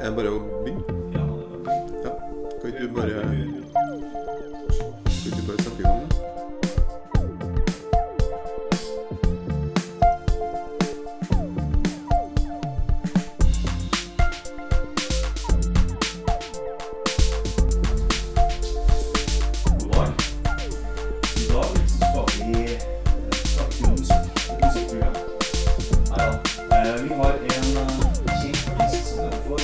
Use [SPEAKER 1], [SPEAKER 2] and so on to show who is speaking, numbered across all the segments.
[SPEAKER 1] Er det bare å begynne? Ja. Kan ikke du bare Kan ikke du bare sette i gang, da?
[SPEAKER 2] God dag. I dag skal vi eh, snakke om musikk. musikkprogram. Nei da. Eh, Vi har en eh, kjent artist som heter for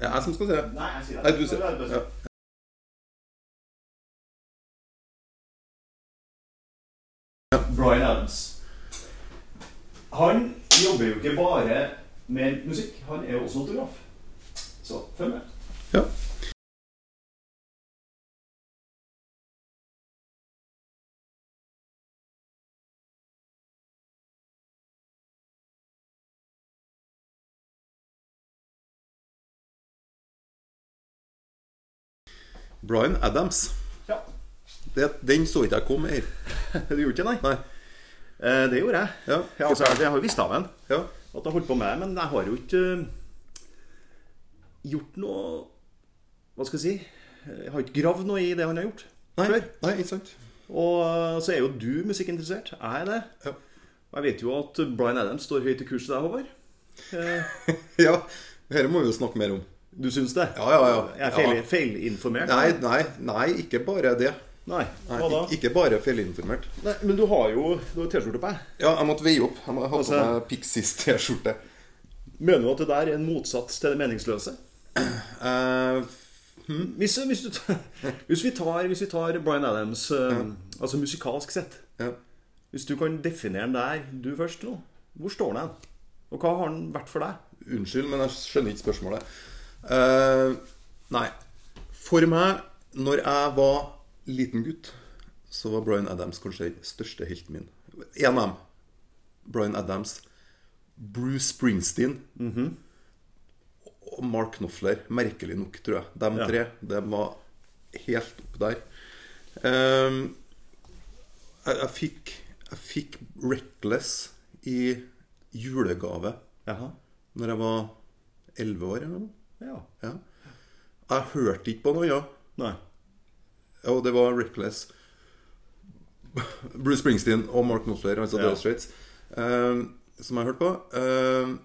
[SPEAKER 1] Er det jeg som skal si det?
[SPEAKER 2] Nei, jeg sier
[SPEAKER 1] Nei, du sier det. Ja.
[SPEAKER 2] det. Bryan Adams. Han jobber jo ikke bare med musikk, han er jo også fotograf. Så følg med.
[SPEAKER 1] Ja. Bryan Adams.
[SPEAKER 2] Ja.
[SPEAKER 1] Det, den så ikke jeg kom her. Du gjorde ikke det, nei? Nei.
[SPEAKER 2] Eh, det gjorde jeg.
[SPEAKER 1] Ja.
[SPEAKER 2] altså, jeg har jo visst av ham.
[SPEAKER 1] Ja.
[SPEAKER 2] at jeg har holdt på med det, men jeg har jo ikke eh, gjort noe Hva skal jeg si? Jeg har ikke gravd noe i det han har gjort.
[SPEAKER 1] Nei,
[SPEAKER 2] Før.
[SPEAKER 1] nei, ikke sant?
[SPEAKER 2] Og eh, så er jo du musikkinteressert. Jeg er det.
[SPEAKER 1] Ja.
[SPEAKER 2] Og jeg vet jo at Bryan Adams står høyt i kurset der, Håvard. Eh,
[SPEAKER 1] ja. Dette må vi jo snakke mer om.
[SPEAKER 2] Du syns det?
[SPEAKER 1] Ja, ja, ja.
[SPEAKER 2] Jeg er feil,
[SPEAKER 1] Ja.
[SPEAKER 2] feilinformert?
[SPEAKER 1] Nei, nei, nei, ikke bare det.
[SPEAKER 2] Nei.
[SPEAKER 1] Nei,
[SPEAKER 2] Hva da?
[SPEAKER 1] ikke- ikke bare feilinformert.
[SPEAKER 2] Nei, men du har jo du har T-skjorte på deg.
[SPEAKER 1] Ja, jeg måtte veie opp. Jeg må ha på
[SPEAKER 2] Altså-
[SPEAKER 1] meg Pixies-T-skjorte.
[SPEAKER 2] Mener du at det der er en motsats til det meningsløse?
[SPEAKER 1] Eh,
[SPEAKER 2] Hvis, hvis, du, tar- hvis, vi tar, hvis vi tar Bryan Adams, eh, altså musikalsk sett
[SPEAKER 1] ja.
[SPEAKER 2] Hvis du kan definere den der, du først nå. Hvor står den? Og hva har den vært for deg?
[SPEAKER 1] Unnskyld, men jeg skjønner ikke spørsmålet. Eh, nei. For meg, når jeg var liten gutt, så var Bryan Adams kanskje den største helten min. En av dem. Bryan Adams. Bruce Springsteen. Og Mark Knopfler. Merkelig nok, tror jeg. De
[SPEAKER 2] Ja.
[SPEAKER 1] tre. De var helt oppe der. Eh, jeg, jeg fikk Jeg fikk Reckless i julegave
[SPEAKER 2] Jaha.
[SPEAKER 1] når jeg var 11 år eller noe.
[SPEAKER 2] Ja.
[SPEAKER 1] Ja. Jeg hørte ikke på noe, ja.
[SPEAKER 2] Nei.
[SPEAKER 1] Og det var Reckless. Bruce Springsteen og Mark Knopfler, altså
[SPEAKER 2] Ja.
[SPEAKER 1] Dire Straits, eh, som jeg hørte på. Uh,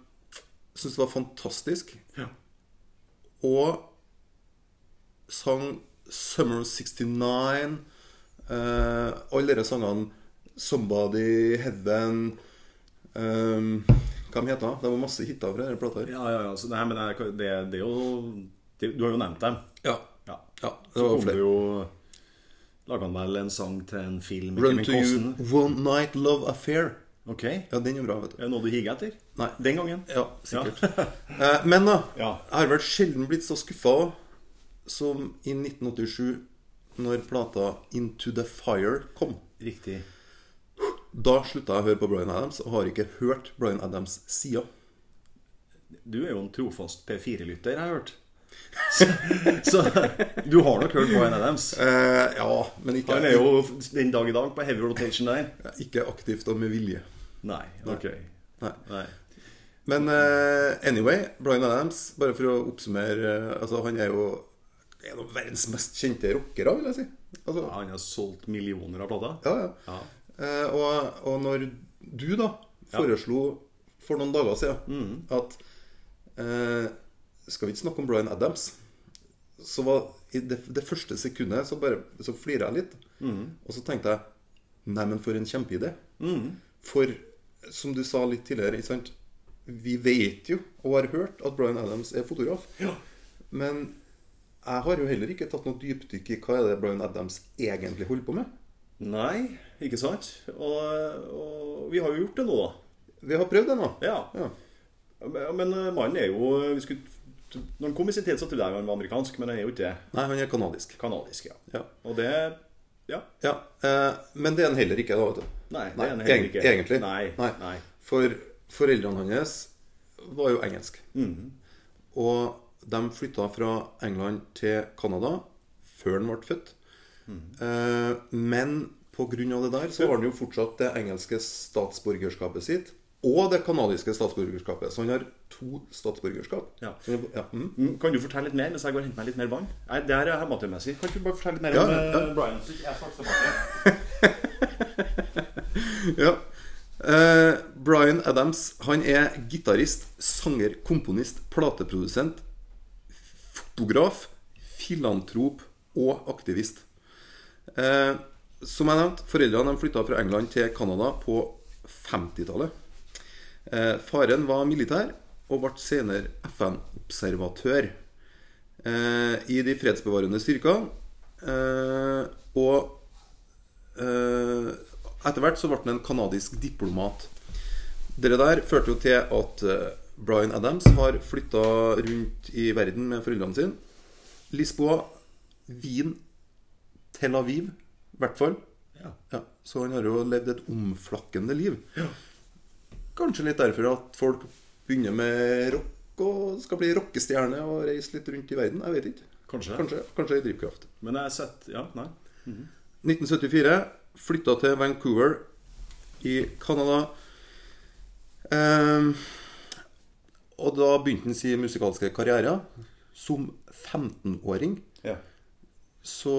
[SPEAKER 1] Syns det var fantastisk.
[SPEAKER 2] Ja.
[SPEAKER 1] Og sang 'Summer of 69', eh, alle de sangene 'Somebody', 'Heaven' eh, Hva de heter de? Det var masse hiter fra denne plata. her.
[SPEAKER 2] Ja, ja, ja. Så, nei, men det, er- det, det er jo det, Du har jo nevnt dem.
[SPEAKER 1] Ja.
[SPEAKER 2] Ja.
[SPEAKER 1] ja. Det var
[SPEAKER 2] Kom
[SPEAKER 1] flere.
[SPEAKER 2] du jo Laga han vel en sang til en film?
[SPEAKER 1] Run
[SPEAKER 2] Kevin
[SPEAKER 1] to you,
[SPEAKER 2] Costner?
[SPEAKER 1] one night love affair.
[SPEAKER 2] Ok. Er
[SPEAKER 1] Ja, den er bra, vet du.
[SPEAKER 2] det noe du higer etter?
[SPEAKER 1] Nei.
[SPEAKER 2] Den gangen?
[SPEAKER 1] Ja, sikkert. Eh, Men da,
[SPEAKER 2] Ja.
[SPEAKER 1] jeg har vel sjelden blitt så skuffa som i 1987, når plata Into the Fire kom.
[SPEAKER 2] Riktig.
[SPEAKER 1] Da slutta jeg å høre på Bryan Adams, og har ikke hørt Bryan Adams sida.
[SPEAKER 2] Du er jo en trofast P4-lytter, jeg har hørt. Så, så du har nok hørt Bryan Adams.
[SPEAKER 1] Eh, ja, men ikke,
[SPEAKER 2] Han er jo den dag i dag på heavy rotation der.
[SPEAKER 1] ikke aktivt og med vilje.
[SPEAKER 2] Nei. Ok.
[SPEAKER 1] Nei.
[SPEAKER 2] Nei.
[SPEAKER 1] Men eh, anyway, Bryan Adams, bare for å oppsummere eh, altså, Han er jo en av verdens mest kjente rockere, vil jeg si. Altså,
[SPEAKER 2] Ja, Han har solgt millioner av plater.
[SPEAKER 1] Ja, ja. Eh, og, og når du da foreslo for noen dager siden at eh, Skal vi ikke snakke om Bryan Adams? Så var i det, det første sekundet så bare så flira jeg litt. Og så tenkte jeg Neimen, for en kjempeidé. For som du sa litt tidligere, ikke sant Vi vet jo og har hørt at Bryan Adams er fotograf.
[SPEAKER 2] Ja.
[SPEAKER 1] Men jeg har jo heller ikke tatt noe dypdykk i hva er det Bryan Adams egentlig holder på med.
[SPEAKER 2] Nei, ikke sant? Og, og vi har jo gjort det nå, da.
[SPEAKER 1] Vi har prøvd det nå.
[SPEAKER 2] Ja.
[SPEAKER 1] Ja.
[SPEAKER 2] Men men, eh, mannen er jo eh, vi skulle, Når han kom i sin tid, så trodde jeg han var amerikansk, men han er jo ikke det.
[SPEAKER 1] Nei, han er kanadisk.
[SPEAKER 2] Kanadisk, ja.
[SPEAKER 1] Ja.
[SPEAKER 2] Og det Ja.
[SPEAKER 1] Ja, eh, men det er han heller ikke, da, vet du.
[SPEAKER 2] Nei, det
[SPEAKER 1] Nei,
[SPEAKER 2] er han heller
[SPEAKER 1] egen-
[SPEAKER 2] ikke.
[SPEAKER 1] Egentlig.
[SPEAKER 2] Nei, nei.
[SPEAKER 1] For foreldrene hans var jo engelsk.
[SPEAKER 2] Mhm.
[SPEAKER 1] Og de flytta fra England til Canada før han ble født.
[SPEAKER 2] Mhm.
[SPEAKER 1] Eh, men pga. det der så har han jo fortsatt det engelske statsborgerskapet sitt. Og det canadiske statsborgerskapet. Så han har to statsborgerskap.
[SPEAKER 2] Ja.
[SPEAKER 1] Så han- ja, mm.
[SPEAKER 2] Mm, Kan du fortelle litt mer mens jeg går og henter meg litt mer vann? Nei, det her er amatørmessig. Kan ikke du bare fortelle litt mer
[SPEAKER 1] Ja,
[SPEAKER 2] om
[SPEAKER 1] ja.
[SPEAKER 2] eh, Brian? Så ikke jeg snakker tilbake.
[SPEAKER 1] Ja. Eh, Bryan Adams han er gitarist, sanger, komponist, plateprodusent, fotograf, filantrop og aktivist. Eh, som jeg nevnte, foreldrene de flytta fra England til Canada på 50-tallet. Eh, faren var militær og ble senere FN-observatør eh, i de fredsbevarende styrkene. Eh, og Eh, Etter hvert så ble han en kanadisk diplomat. Dere der førte jo til at eh, Bryan Adams har flytta rundt i verden med foreldrene sine. Lisboa, Wien, Tel Aviv, i hvert fall.
[SPEAKER 2] Ja.
[SPEAKER 1] Ja, så han har jo levd et omflakkende liv. Kanskje litt derfor at folk begynner med rock og skal bli rockestjerne og reise litt rundt i verden. Jeg vet ikke.
[SPEAKER 2] Kanskje.
[SPEAKER 1] Kanskje, kanskje en drivkraft.
[SPEAKER 2] Men jeg har sett Ja, nei.
[SPEAKER 1] 1974 flytta til Vancouver i Canada. Ehm, og da begynte han sin musikalske karriere. Som 15-åring
[SPEAKER 2] Ja.
[SPEAKER 1] så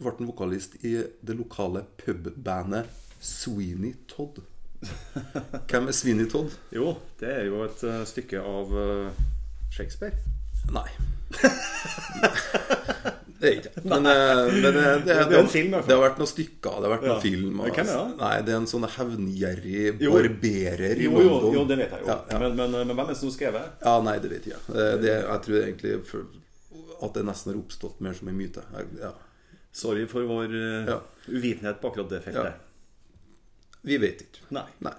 [SPEAKER 1] ble han vokalist i det lokale pubbandet Sweeney Todd. Hvem er Sweeney Todd?
[SPEAKER 2] Jo, det er jo et eh, stykke av eh, Shakespeare.
[SPEAKER 1] Nei. Det er ikke jeg. Men, eh, men det, det, det,
[SPEAKER 2] Det er en film, i hvert fall.
[SPEAKER 1] det har vært noen stykker, det har vært
[SPEAKER 2] Ja.
[SPEAKER 1] noen film.
[SPEAKER 2] Men hvem er det?
[SPEAKER 1] Nei, det er en sånn hevngjerrig
[SPEAKER 2] Jo.
[SPEAKER 1] barberer i
[SPEAKER 2] Jo, jo,
[SPEAKER 1] London.
[SPEAKER 2] jo, det vet jeg jo.
[SPEAKER 1] Ja, ja.
[SPEAKER 2] Men, eh, men, men hvem er det som har skrevet?
[SPEAKER 1] ja, nei, det vet jeg. Eh, Det, jeg tror egentlig for- at det nesten har oppstått mer som en myte. Jeg- Ja.
[SPEAKER 2] Sorry for vår eh,
[SPEAKER 1] Ja.
[SPEAKER 2] uvitenhet på akkurat det feltet.
[SPEAKER 1] Ja. Vi vet ikke.
[SPEAKER 2] Nei.
[SPEAKER 1] Nei.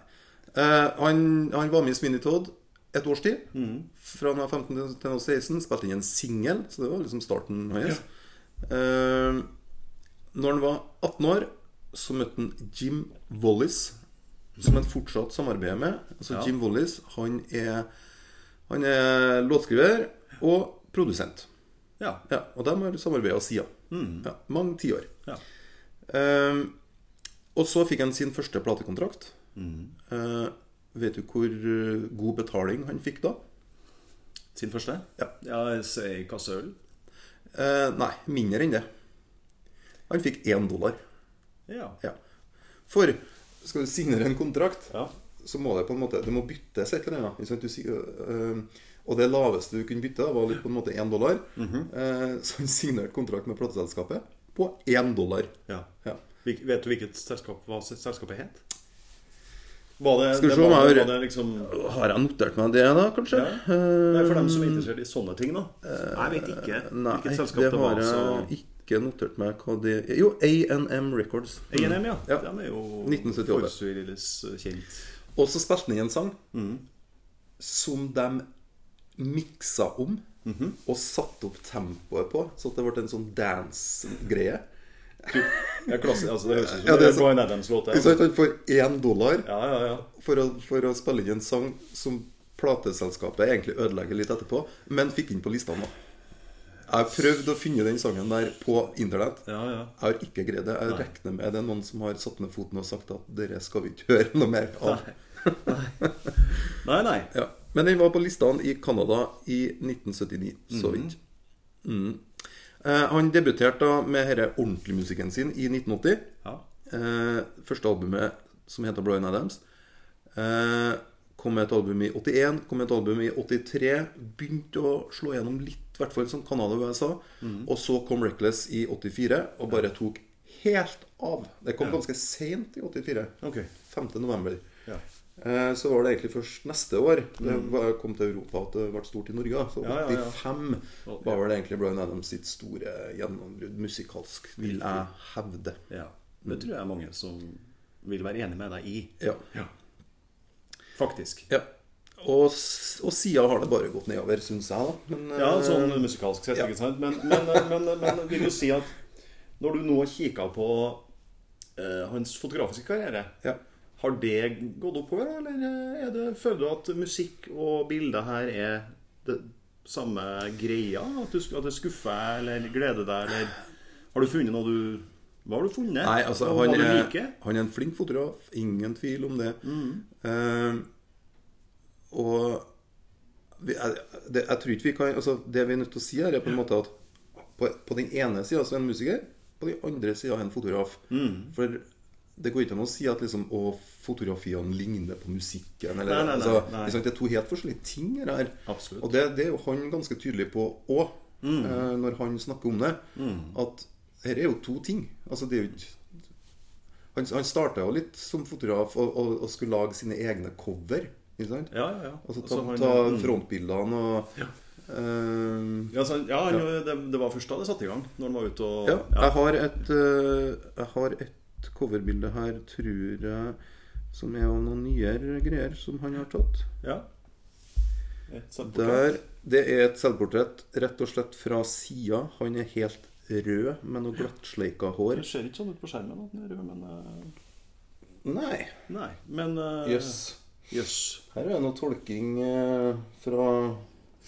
[SPEAKER 1] Eh, han, han var med i Sweeney Todd et års tid.
[SPEAKER 2] Mm.
[SPEAKER 1] Fra han var 15 til- til han var 16. Spilte inn en singel, så det var liksom starten hans. Eh, når han var 18 år, så møtte han Jim Wallis, som han fortsatt samarbeider med. Altså
[SPEAKER 2] Ja.
[SPEAKER 1] Jim Wallis, han er, han er låtskriver og produsent.
[SPEAKER 2] Ja.
[SPEAKER 1] Ja, og de har samarbeida siden.
[SPEAKER 2] Mm.
[SPEAKER 1] Ja, mange tiår.
[SPEAKER 2] Ja.
[SPEAKER 1] Ehm, og så fikk han sin første platekontrakt. Eh, vet du hvor eh, god betaling han fikk da?
[SPEAKER 2] Sin første?
[SPEAKER 1] Ja.
[SPEAKER 2] ja Sei Kassøl?
[SPEAKER 1] Eh, nei, mindre enn det. Han fikk én dollar.
[SPEAKER 2] Ja.
[SPEAKER 1] Ja. For skal du signere en kontrakt,
[SPEAKER 2] Ja.
[SPEAKER 1] så må det på en måte Det må byttes et eller annet. ikke sant? Du sier, eh, og det laveste du kunne bytte, var litt på en måte én dollar. Eh, så han signerte kontrakt med plateselskapet på én dollar.
[SPEAKER 2] ja.
[SPEAKER 1] Ja.
[SPEAKER 2] Hvil- Vet du hvilket selskap hva selskapet het? Var det,
[SPEAKER 1] Skal vi
[SPEAKER 2] det
[SPEAKER 1] se om
[SPEAKER 2] var,
[SPEAKER 1] jeg har-
[SPEAKER 2] var det liksom
[SPEAKER 1] Har jeg notert meg det, da, kanskje? Ehm,
[SPEAKER 2] ja. Nei, For dem som er interessert i sånne ting, da. Jeg vet ikke
[SPEAKER 1] Eh, Nei,
[SPEAKER 2] hvilket selskap
[SPEAKER 1] det altså?
[SPEAKER 2] det
[SPEAKER 1] har
[SPEAKER 2] var.
[SPEAKER 1] jeg
[SPEAKER 2] Så...
[SPEAKER 1] ikke notert meg hva det er. Jo, A&M Records.
[SPEAKER 2] A&M, ja.
[SPEAKER 1] eh, Ja.
[SPEAKER 2] De er jo
[SPEAKER 1] 1978.
[SPEAKER 2] forholdsvis kjent.
[SPEAKER 1] Og så spilte han inn en sang som de miksa om og satte opp tempoet på, så at det ble en sånn dance-greie.
[SPEAKER 2] Ja, klasse, altså, det høres ut som
[SPEAKER 1] Ja, det
[SPEAKER 2] det
[SPEAKER 1] er
[SPEAKER 2] er
[SPEAKER 1] så-
[SPEAKER 2] Bryan Adams-låt.
[SPEAKER 1] Ikke sant? Han får én dollar
[SPEAKER 2] Ja, ja, ja.
[SPEAKER 1] for å, for å spille inn en sang som plateselskapet egentlig ødelegger litt etterpå, men fikk inn på listene, da. Jeg har prøvd å finne den sangen der på internett.
[SPEAKER 2] ja, ja.
[SPEAKER 1] Jeg har ikke greid det. Jeg regner med det er noen som har satt ned foten og sagt at dere skal vi ikke høre noe mer av.
[SPEAKER 2] Nei, nei.
[SPEAKER 1] Ja. Men den var på listene i Canada i 1979, så vidt. Mm. Eh, han debuterte da med denne ordentlige musikken sin i 1980.
[SPEAKER 2] Ja.
[SPEAKER 1] Eh, første albumet, som heter Bryan Adams. Eh, kom med et album i 81, kom med et album i 83. Begynte å slå gjennom litt, i hvert fall som Canada og USA.
[SPEAKER 2] Mhm.
[SPEAKER 1] Og så kom Reckless i 84, og bare tok helt av. Det kom ganske seint i 84.
[SPEAKER 2] Ok.
[SPEAKER 1] 5. november.
[SPEAKER 2] Ja. Mhm.
[SPEAKER 1] Eh, Så var det egentlig først neste år det var- kom til Europa at det ble stort i Norge. da. Så
[SPEAKER 2] Ja, ja, ja.
[SPEAKER 1] 85 var vel egentlig Bryan Adams sitt store gjennombrudd musikalsk, vil jeg hevde.
[SPEAKER 2] ja. Det tror jeg er mange som vil være enig med deg i.
[SPEAKER 1] Ja.
[SPEAKER 2] Ja. Faktisk.
[SPEAKER 1] ja. Og, s- og sida har det bare gått nedover, syns jeg, da. Men, eh,
[SPEAKER 2] Ja, sånn musikalsk sett, ikke sant? Men, men, men, men, vil du si at når du nå kikker på eh, hans fotografiske karriere.
[SPEAKER 1] Ja.
[SPEAKER 2] Har det gått oppover, eller eh, er det, føler du at musikk og bilder her er det samme greia? At, du, at det skuffer deg, eller gleder deg, eller Har du funnet noe du Hva har du funnet?
[SPEAKER 1] Nei, altså,
[SPEAKER 2] Og
[SPEAKER 1] han
[SPEAKER 2] hva du
[SPEAKER 1] er,
[SPEAKER 2] liker?
[SPEAKER 1] han er en flink fotograf. Ingen tvil om det.
[SPEAKER 2] Mm.
[SPEAKER 1] Eh, og vi, jeg, det, jeg tror ikke vi kan altså, Det vi er nødt til å si her, er på en måte at på, på den ene sida så er en musiker, på den andre sida er en fotograf.
[SPEAKER 2] Mm.
[SPEAKER 1] For det går ikke an å si at liksom, å, fotografiene ligner på musikken. Eller,
[SPEAKER 2] Nei, nei, nei,
[SPEAKER 1] altså,
[SPEAKER 2] nei.
[SPEAKER 1] ikke sant, det er to helt forskjellige ting her. her.
[SPEAKER 2] Absolutt. Mm.
[SPEAKER 1] Og det, det er jo han ganske tydelig på òg, eh, når han snakker om det. At dette er jo to ting. Altså, det er jo ikke han, han starta jo litt som fotograf og, og, og skulle lage sine egne cover. Ikke sant?
[SPEAKER 2] Ja, ja, ja.
[SPEAKER 1] Altså ta,
[SPEAKER 2] Altså, han-
[SPEAKER 1] ta
[SPEAKER 2] mm.
[SPEAKER 1] frontbildene og eh,
[SPEAKER 2] Ja, så, ja, Det, det var først da det satte i gang. Når han var ute og
[SPEAKER 1] ja, jeg har et eh, Jeg har et coverbilde her, tror jeg, som er av noen nyere greier som han har tatt.
[SPEAKER 2] ja. Et sånt portrett.
[SPEAKER 1] Der, Det er et selvportrett rett og slett fra sida. Han er helt rød med noe glattsleika hår.
[SPEAKER 2] Det ser ikke sånn ut på skjermen at den er rød, men eh,
[SPEAKER 1] Nei.
[SPEAKER 2] Nei. Men eh,
[SPEAKER 1] Jøss.
[SPEAKER 2] Jøss.
[SPEAKER 1] Her er det noe tolking eh, fra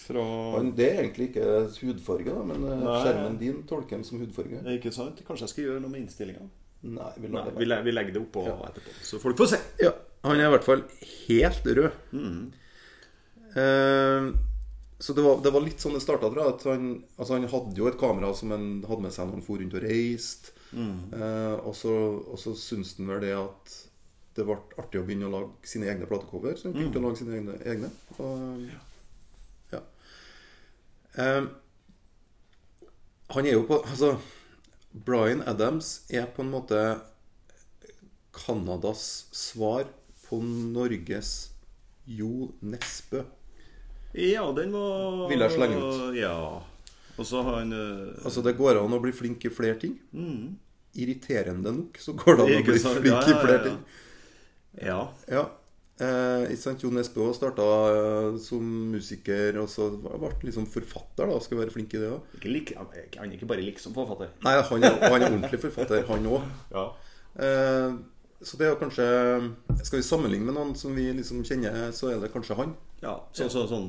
[SPEAKER 2] Fra
[SPEAKER 1] Han, det er egentlig ikke hudfarge, da, men eh,
[SPEAKER 2] Nei.
[SPEAKER 1] skjermen din tolker den som hudfarge.
[SPEAKER 2] Det er Ikke sant? Kanskje jeg skal gjøre noe med innstillinga?
[SPEAKER 1] Nei, vi
[SPEAKER 2] Nei,
[SPEAKER 1] lar det
[SPEAKER 2] vi,
[SPEAKER 1] være.
[SPEAKER 2] le- vi legger det oppå etterpå, så folk får se.
[SPEAKER 1] Ja, han er i hvert fall helt rød. Eh, så det var, det var litt sånn det starta. Han, altså han hadde jo et kamera som han hadde med seg når han for rundt og reiste. Eh, og så, og så syntes han vel det at det ble artig å begynne å lage sine egne platecover. Så han begynte å lage sine egne. egne og, ja. Eh, han er jo på Altså, Bryan Adams er på en måte Canadas svar på Norges Jo Nesbø.
[SPEAKER 2] Ja, den var
[SPEAKER 1] Vil jeg slenge ut.
[SPEAKER 2] Ja. Og så har han eh,
[SPEAKER 1] Altså, det går an å bli flink i flere ting. Irriterende nok så går det an å
[SPEAKER 2] Mm. Ikke
[SPEAKER 1] bli
[SPEAKER 2] sant?
[SPEAKER 1] flink
[SPEAKER 2] Ja,
[SPEAKER 1] i
[SPEAKER 2] ja,
[SPEAKER 1] flere
[SPEAKER 2] ja.
[SPEAKER 1] ting.
[SPEAKER 2] Ja.
[SPEAKER 1] Ja. Eh, ikke sant? Jo Nesbø starta eh, som musiker, og så ble han liksom forfatter, da. Skal være flink i det òg.
[SPEAKER 2] Ikke lik, han er ikke bare liksom forfatter.
[SPEAKER 1] Nei, han er, han er ordentlig forfatter, han òg.
[SPEAKER 2] Ja.
[SPEAKER 1] Eh, så det er jo kanskje Skal vi sammenligne med noen som vi liksom kjenner, så er det kanskje han.
[SPEAKER 2] ja så, så, sånn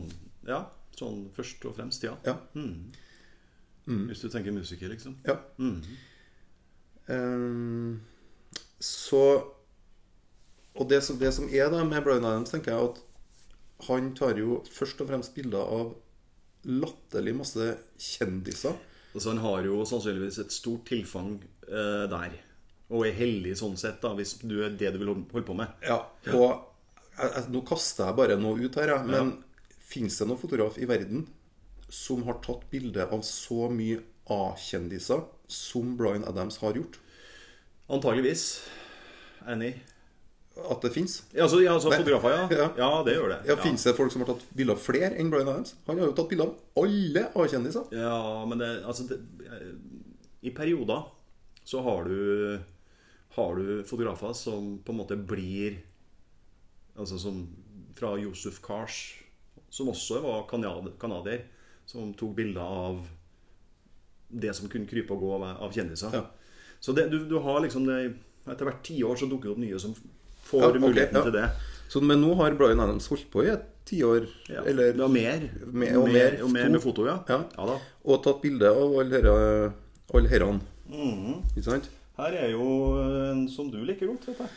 [SPEAKER 2] Ja. Sånn først og fremst, ja.
[SPEAKER 1] Ja.
[SPEAKER 2] Hvis du tenker musiker, liksom.
[SPEAKER 1] Ja. Ehm, så Og det som, det som er da med Bryan Adams, tenker jeg at han tar jo først og fremst bilder av latterlig masse kjendiser.
[SPEAKER 2] Altså Han har jo sannsynligvis et stort tilfang eh, der. Og er heldig sånn sett, da, hvis du er det du vil holde på med.
[SPEAKER 1] Ja, og jeg, jeg, nå kaster jeg bare noe ut her, jeg, men fins det noen fotograf i verden som har tatt bilde av så mye A-kjendiser som Bryan Adams har gjort?
[SPEAKER 2] Antageligvis. Enig.
[SPEAKER 1] At det fins?
[SPEAKER 2] Ja, altså, ja, altså fotografer, ja.
[SPEAKER 1] Ja.
[SPEAKER 2] Ja, det gjør det.
[SPEAKER 1] Ja, Fins det folk som har tatt bilder av flere enn Bryan Adams? Han har jo tatt bilder av alle A-kjendiser.
[SPEAKER 2] Ja, men det, altså det, I perioder så har du, har du fotografer som på en måte blir Altså som fra Josef Kars, som også var kanad, kanadier, som tok bilder av det som kunne krype og gå av, av kjendiser.
[SPEAKER 1] Ja.
[SPEAKER 2] Så det, du, du har liksom det Etter hvert tiår så dukker det opp nye som får
[SPEAKER 1] Ja, ok,
[SPEAKER 2] muligheten
[SPEAKER 1] ja.
[SPEAKER 2] til det.
[SPEAKER 1] Så, men nå har Bryan Adams holdt på i et tiår
[SPEAKER 2] Ja.
[SPEAKER 1] eller,
[SPEAKER 2] ja, mer.
[SPEAKER 1] mer- og mer
[SPEAKER 2] og mer
[SPEAKER 1] foto.
[SPEAKER 2] med foto, ja.
[SPEAKER 1] Ja.
[SPEAKER 2] ja da.
[SPEAKER 1] og tatt bilde av alle herre- alle herrene. Ikke sant?
[SPEAKER 2] Her er jo en som du liker godt, vet jeg.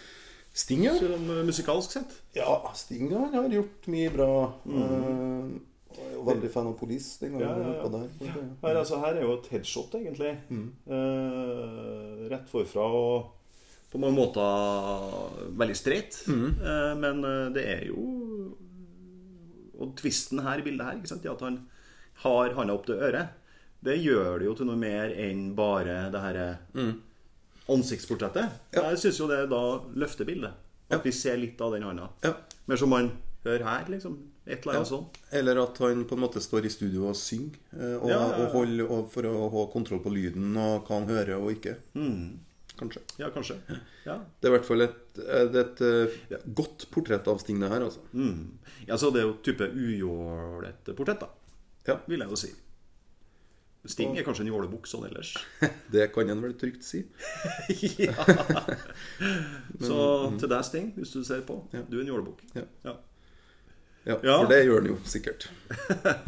[SPEAKER 1] Sting, ja.
[SPEAKER 2] Selv om eh, musikalsk sett.
[SPEAKER 1] ja Sting han har gjort mye bra. Eh, jeg er jo veldig fan av Police den gangen.
[SPEAKER 2] Ja, ja, ja.
[SPEAKER 1] jeg var på der.
[SPEAKER 2] Her, altså, her er jo et headshot, egentlig. Eh, rett forfra og på mange måter veldig streit. Eh, men eh, det er jo Og tvisten her i bildet her, ikke sant? det at han har handa opp til øret, det gjør det jo til noe mer enn bare det herre Mm. ansiktsportrettet. Jeg syns jo det da løfter bildet. At vi ser litt av den handa.
[SPEAKER 1] Ja.
[SPEAKER 2] Mer som man hører her, liksom. Et eller annet sånt.
[SPEAKER 1] Eller at han på en måte står i studio og synger eh, og,
[SPEAKER 2] Ja, ja, ja.
[SPEAKER 1] og holder og for å ha kontroll på lyden og hva han hører og ikke.
[SPEAKER 2] Mm.
[SPEAKER 1] Kanskje.
[SPEAKER 2] Ja, kanskje. Ja.
[SPEAKER 1] Det er i hvert fall et, et, et eh, godt portrett av Sting, det her, altså.
[SPEAKER 2] Mm. Ja, så det er jo type ujålete portrett, da,
[SPEAKER 1] Ja.
[SPEAKER 2] vil jeg jo si. Sting er kanskje en jålebuks sånn ellers.
[SPEAKER 1] Det kan en vel trygt si.
[SPEAKER 2] ja. Så til deg, Sting, hvis du ser på. Du er en jålebukk.
[SPEAKER 1] Ja.
[SPEAKER 2] Ja.
[SPEAKER 1] Ja,
[SPEAKER 2] Ja.
[SPEAKER 1] For det gjør den jo sikkert.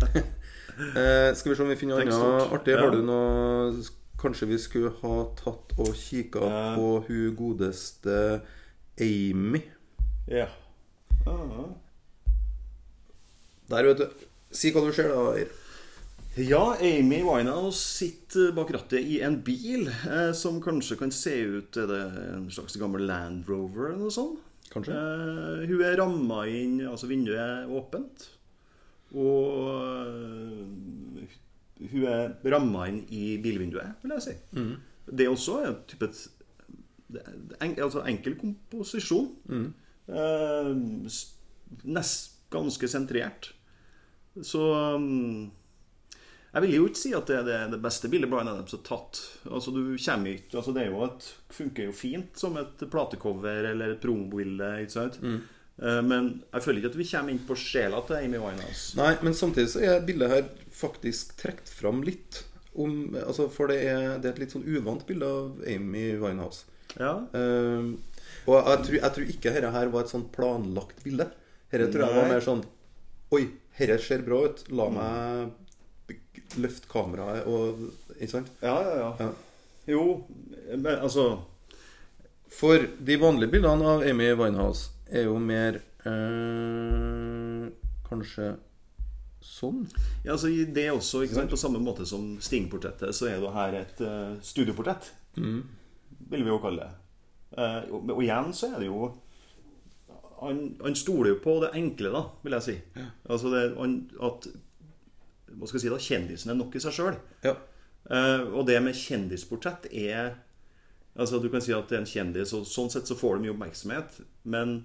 [SPEAKER 1] eh, skal vi se om vi finner
[SPEAKER 2] Tenk
[SPEAKER 1] noe
[SPEAKER 2] stort.
[SPEAKER 1] annet artig.
[SPEAKER 2] Ja.
[SPEAKER 1] Har du noe Kanskje vi skulle ha tatt og kikka
[SPEAKER 2] Eh.
[SPEAKER 1] på hun godeste Amy.
[SPEAKER 2] Ja. Ah.
[SPEAKER 1] Der, vet du. Si hva du ser, da. Eir.
[SPEAKER 2] Ja, Amy Winehouse sitter bak rattet i en bil eh, som kanskje kan se ut Er det en slags gammel Land Rover eller noe sånt?
[SPEAKER 1] Kanskje.
[SPEAKER 2] Eh, hun er ramma inn, altså vinduet er åpent. Og eh, hun er ramma inn i bilvinduet, vil jeg si. Det også er en type et, det er en, altså enkel komposisjon. Eh, s- nest, ganske sentrert. Så um, Jeg vil jo ikke si at det er det, det beste bildet Brian Adams har tatt. Altså du kommer ikke, altså Det er jo et, funker jo fint som et platecover eller et promobilde. ikke sant? Eh, Men jeg føler ikke at vi kommer inn på sjela til Amy Winehouse.
[SPEAKER 1] Nei, men samtidig så er bildet her faktisk trukket fram litt. Om, altså, for det er, det er et litt sånn uvant bilde av Amy Winehouse.
[SPEAKER 2] Ja,
[SPEAKER 1] Eh, og jeg tror, jeg tror ikke dette her var et sånn planlagt bilde. Dette tror jeg var
[SPEAKER 2] Nei.
[SPEAKER 1] mer sånn Oi, dette ser bra ut. La meg løfte kameraet og Ikke sant?
[SPEAKER 2] ja, ja. ja.
[SPEAKER 1] Ja.
[SPEAKER 2] Jo, men altså
[SPEAKER 1] For de vanlige bildene av Amy Winehouse er jo mer eh, Kanskje sånn?
[SPEAKER 2] Ja, altså i det også, ikke sant? På samme måte som Sting-portrettet, så er det her et eh, studioportrett. Vil vi jo kalle det. Eh, og, og igjen så er det jo han, han stoler jo på det enkle, da, vil jeg si. Altså det, han, at hva skal jeg si da, kjendisen er nok i seg sjøl.
[SPEAKER 1] Ja.
[SPEAKER 2] Eh, og det med kjendisportrett er Altså Du kan si at det er en kjendis, og sånn sett så får de mye oppmerksomhet. Men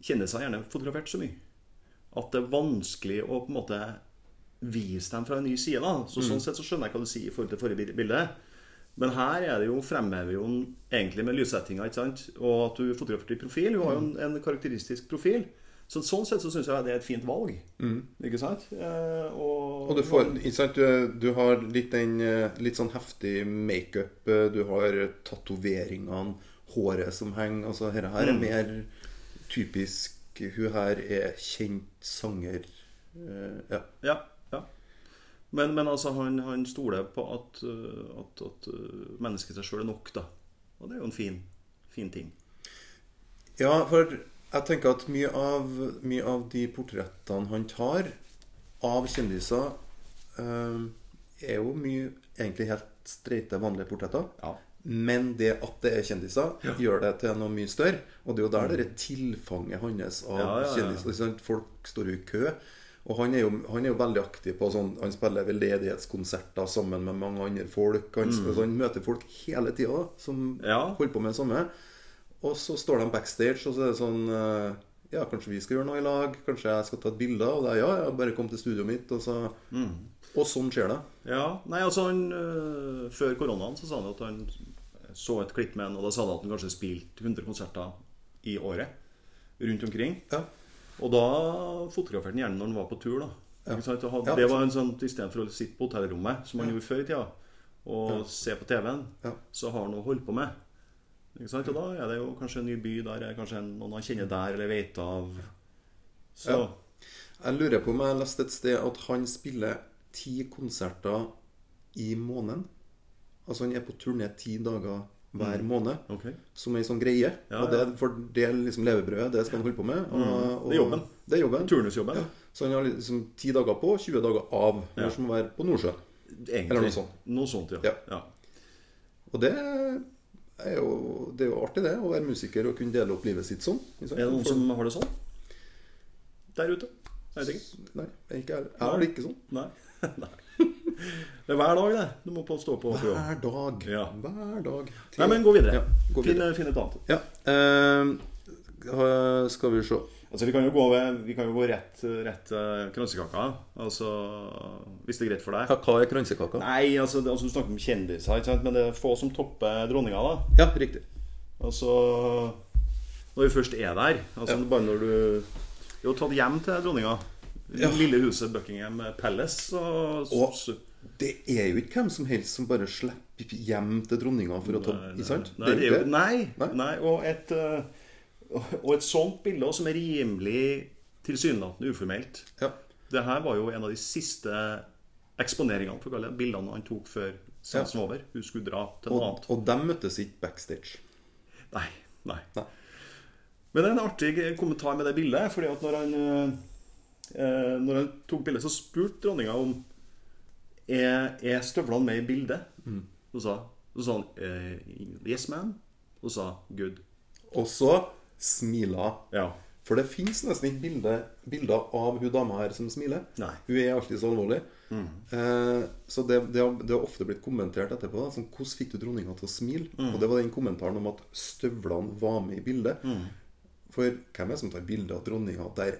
[SPEAKER 2] kjendiser har gjerne fotografert så mye at det er vanskelig å på en måte vise dem fra en ny side. da Så Sånn sett så skjønner jeg hva du sier i forhold til forrige bil- bilde. Men her er det jo, fremhever jo den egentlig med lyssettinga ikke sant? og at du fotograferte i profil. Hun har jo en, en karakteristisk profil. Så Sånn sett så syns jeg det er et fint valg. Ikke sant? Eh, og,
[SPEAKER 1] Og du får ikke sant, du, du har litt den eh, litt sånn heftig makeup, eh, du har tatoveringene, håret som henger Altså dette her er mer typisk Hun her er kjent sanger eh, Ja.
[SPEAKER 2] Ja, ja. Men, men altså, han, han stoler på at, øh, at, at øh, mennesket i seg sjøl er nok, da. Og det er jo en fin, fin ting.
[SPEAKER 1] ja, for jeg tenker at mye av, mye av de portrettene han tar av kjendiser, eh, er jo mye egentlig helt streite, vanlige portretter. Men det at det er kjendiser, gjør det til noe mye større. Og det er jo der det er tilfanget hans av
[SPEAKER 2] Mm. Ja, ja, ja.
[SPEAKER 1] kjendiser. ikke sant? Folk står jo i kø. Og han er jo, han er jo veldig aktiv på sånn Han spiller veldedighetskonserter sammen med mange andre folk. Han, altså, han møter folk hele tida som
[SPEAKER 2] Mm. Ja.
[SPEAKER 1] holder på med det samme. Og så står de backstage, og så er det sånn eh, Ja, kanskje vi skal gjøre noe i lag? Kanskje jeg skal ta et bilde? Og det er ja, ja, bare kom til studioet mitt. Og, så,
[SPEAKER 2] Mm.
[SPEAKER 1] og sånn skjer det.
[SPEAKER 2] Ja, nei, altså han øh, Før koronaen så sa han at han så et klipp med han, og da sa han at han kanskje spilte 100 konserter i året rundt omkring.
[SPEAKER 1] Ja.
[SPEAKER 2] Og da fotograferte han gjerne når han var på tur. da Ikke sant? Og han-
[SPEAKER 1] Ja.
[SPEAKER 2] Det var en sånn, Istedenfor å sitte på hotellrommet, som han gjorde før i tida, og se på TV-en,
[SPEAKER 1] Ja.
[SPEAKER 2] så har han noe å holde på med. Ikke sant? Og da er det jo kanskje en ny by der, er kanskje en, noen han kjenner der, eller vet av. Så
[SPEAKER 1] Ja. Jeg lurer på om jeg leste et sted at han spiller ti konserter i måneden. Altså han er på turné ti dager hver måned,
[SPEAKER 2] Mm. ok.
[SPEAKER 1] som ei sånn greie.
[SPEAKER 2] Ja, Mm.
[SPEAKER 1] Og det, for det er liksom levebrødet, det skal han holde på med. Og, og,
[SPEAKER 2] Det er jobben.
[SPEAKER 1] Det er jobben.
[SPEAKER 2] Turnusjobben.
[SPEAKER 1] Ja. Så han har liksom ti dager på, 20 dager av. Når som å være på Nordsjøen.
[SPEAKER 2] Egentlig.
[SPEAKER 1] Eller noe sånt.
[SPEAKER 2] Noe sånt, ja.
[SPEAKER 1] Ja.
[SPEAKER 2] ja.
[SPEAKER 1] Og det er jo, det er jo artig, det. Å være musiker og kunne dele opp livet sitt sånn. Ikke sant?
[SPEAKER 2] Er det noen
[SPEAKER 1] For-
[SPEAKER 2] som har det sånn? Der ute? Jeg vet ikke.
[SPEAKER 1] Nei, jeg er ikke ærlig. Jeg har det ikke sånn.
[SPEAKER 2] Nei. Nei. Det er hver dag, det. Du må på stå på. for jobb.
[SPEAKER 1] Hver dag.
[SPEAKER 2] Ja.
[SPEAKER 1] Hver dag.
[SPEAKER 2] Nei, men gå videre.
[SPEAKER 1] Ja, gå videre.
[SPEAKER 2] Finn, finn et annet.
[SPEAKER 1] Ja. eh, ha- skal vi se
[SPEAKER 2] Altså, vi kan jo gå, ved, vi kan jo gå rett, rett eh, kransekaka. Altså, hvis det er greit for deg.
[SPEAKER 1] Hva er kransekaka?
[SPEAKER 2] Nei, altså, det, altså du snakker om kjendiser, ikke sant? men det er få som topper dronninga, da.
[SPEAKER 1] Ja, riktig.
[SPEAKER 2] Altså Når vi først er der altså, Bare når du er jo tatt hjem til dronninga. I Det lille huset Buckingham Palace. Og,
[SPEAKER 1] Og-
[SPEAKER 2] s-
[SPEAKER 1] Det er jo ikke hvem som helst som bare slipper hjem til dronninga for å ta
[SPEAKER 2] Nei, nei.
[SPEAKER 1] Ikke sant?
[SPEAKER 2] Nei, det er jo,
[SPEAKER 1] ikke
[SPEAKER 2] nei,
[SPEAKER 1] Nei.
[SPEAKER 2] nei og, et, eh, og et sånt bilde også, som er rimelig tilsynelatende uformelt.
[SPEAKER 1] Ja.
[SPEAKER 2] Det her var jo en av de siste eksponeringene, for å kalle det, bildene han tok før sensen var over. Hun skulle dra til noe
[SPEAKER 1] Og,
[SPEAKER 2] annet.
[SPEAKER 1] og de møttes ikke backstage.
[SPEAKER 2] Nei, nei.
[SPEAKER 1] Nei.
[SPEAKER 2] Men det er en artig kommentar med det bildet, fordi at når han, eh, eh, når han tok bildet, så spurte dronninga om er, er støvlene med i bildet.
[SPEAKER 1] Mm.
[SPEAKER 2] Så sa, så sa han eh, yes, ma'am. Og sa good.
[SPEAKER 1] Og så smila hun.
[SPEAKER 2] Ja.
[SPEAKER 1] For det fins nesten ikke bilde, bilder av hun dama her som smiler.
[SPEAKER 2] Nei.
[SPEAKER 1] Hun er alltid så alvorlig. Eh, så det, det, har, det har ofte blitt kommentert etterpå. Da, sånn, Hvordan fikk du dronninga til å smile? Og det var den kommentaren om at støvlene var med i bildet. For hvem er det som tar bilde av dronninga der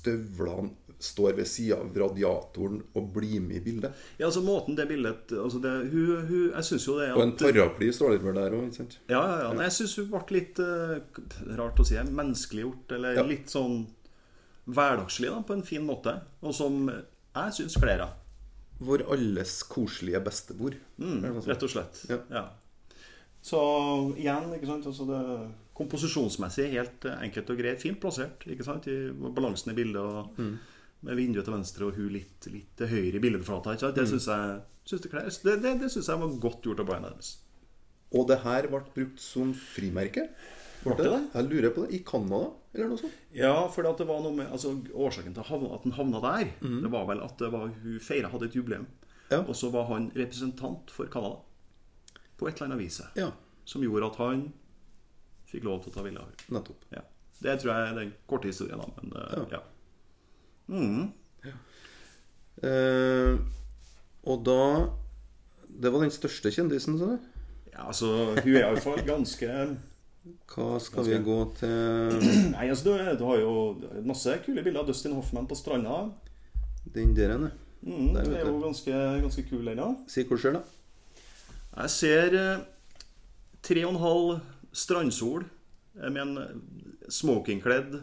[SPEAKER 1] støvlene står ved sida av radiatoren og blir med i bildet?
[SPEAKER 2] ja, altså måten det bildet altså det, hun, hun, Jeg syns jo det
[SPEAKER 1] Og en
[SPEAKER 2] at
[SPEAKER 1] paraply står det vel der òg, ikke sant?
[SPEAKER 2] Ja, ja, ja. Nei, jeg syns hun ble litt eh, rart å si, menneskeliggjort. Eller
[SPEAKER 1] Ja.
[SPEAKER 2] litt sånn hverdagslig, da, på en fin måte. Og som jeg syns kler henne.
[SPEAKER 1] Vår alles koselige bestemor. er det noe sånt?
[SPEAKER 2] Rett og slett.
[SPEAKER 1] Ja.
[SPEAKER 2] Så igjen, ikke sant altså det Komposisjonsmessig helt eh, enkelt og greit. Fint plassert. ikke sant? I balansen i bildet og
[SPEAKER 1] Mm.
[SPEAKER 2] med vinduet til venstre og hun litt, litt til høyre i billedflata. ikke
[SPEAKER 1] Mm.
[SPEAKER 2] sant? Det syns jeg synes det kler. Det, det, det syns jeg var godt gjort av Brian Adams.
[SPEAKER 1] Og det her ble brukt som frimerke. Ble
[SPEAKER 2] det
[SPEAKER 1] det?
[SPEAKER 2] det?
[SPEAKER 1] Jeg lurer på det. I Canada, eller noe sånt?
[SPEAKER 2] Ja, for det var noe med, altså, årsaken til havna, at han havna der, det var vel at det var, hun feira hadde et jubileum.
[SPEAKER 1] Ja.
[SPEAKER 2] Og så var han representant for Canada på et eller annet vis.
[SPEAKER 1] Ja,
[SPEAKER 2] Som gjorde at han fikk lov til å ta bilde av henne.
[SPEAKER 1] nettopp.
[SPEAKER 2] Ja. Det tror jeg er den korte historien, da. Men eh, ja. Mhm.
[SPEAKER 1] Eh, og da Det var den største kjendisen, sa du?
[SPEAKER 2] ja. altså, hun er iallfall ganske
[SPEAKER 1] Hva skal vi gå til
[SPEAKER 2] Nei, altså, du, du har jo masse kule bilder av Dustin Hoffman på stranda.
[SPEAKER 1] den der ene?
[SPEAKER 2] Mm,
[SPEAKER 1] Der,
[SPEAKER 2] det
[SPEAKER 1] vet
[SPEAKER 2] er jo
[SPEAKER 1] du.
[SPEAKER 2] ganske, ganske kul, den da.
[SPEAKER 1] Si hvor skjer, da.
[SPEAKER 2] Jeg ser eh, tre og en halv strandsol eh, med en smokingkledd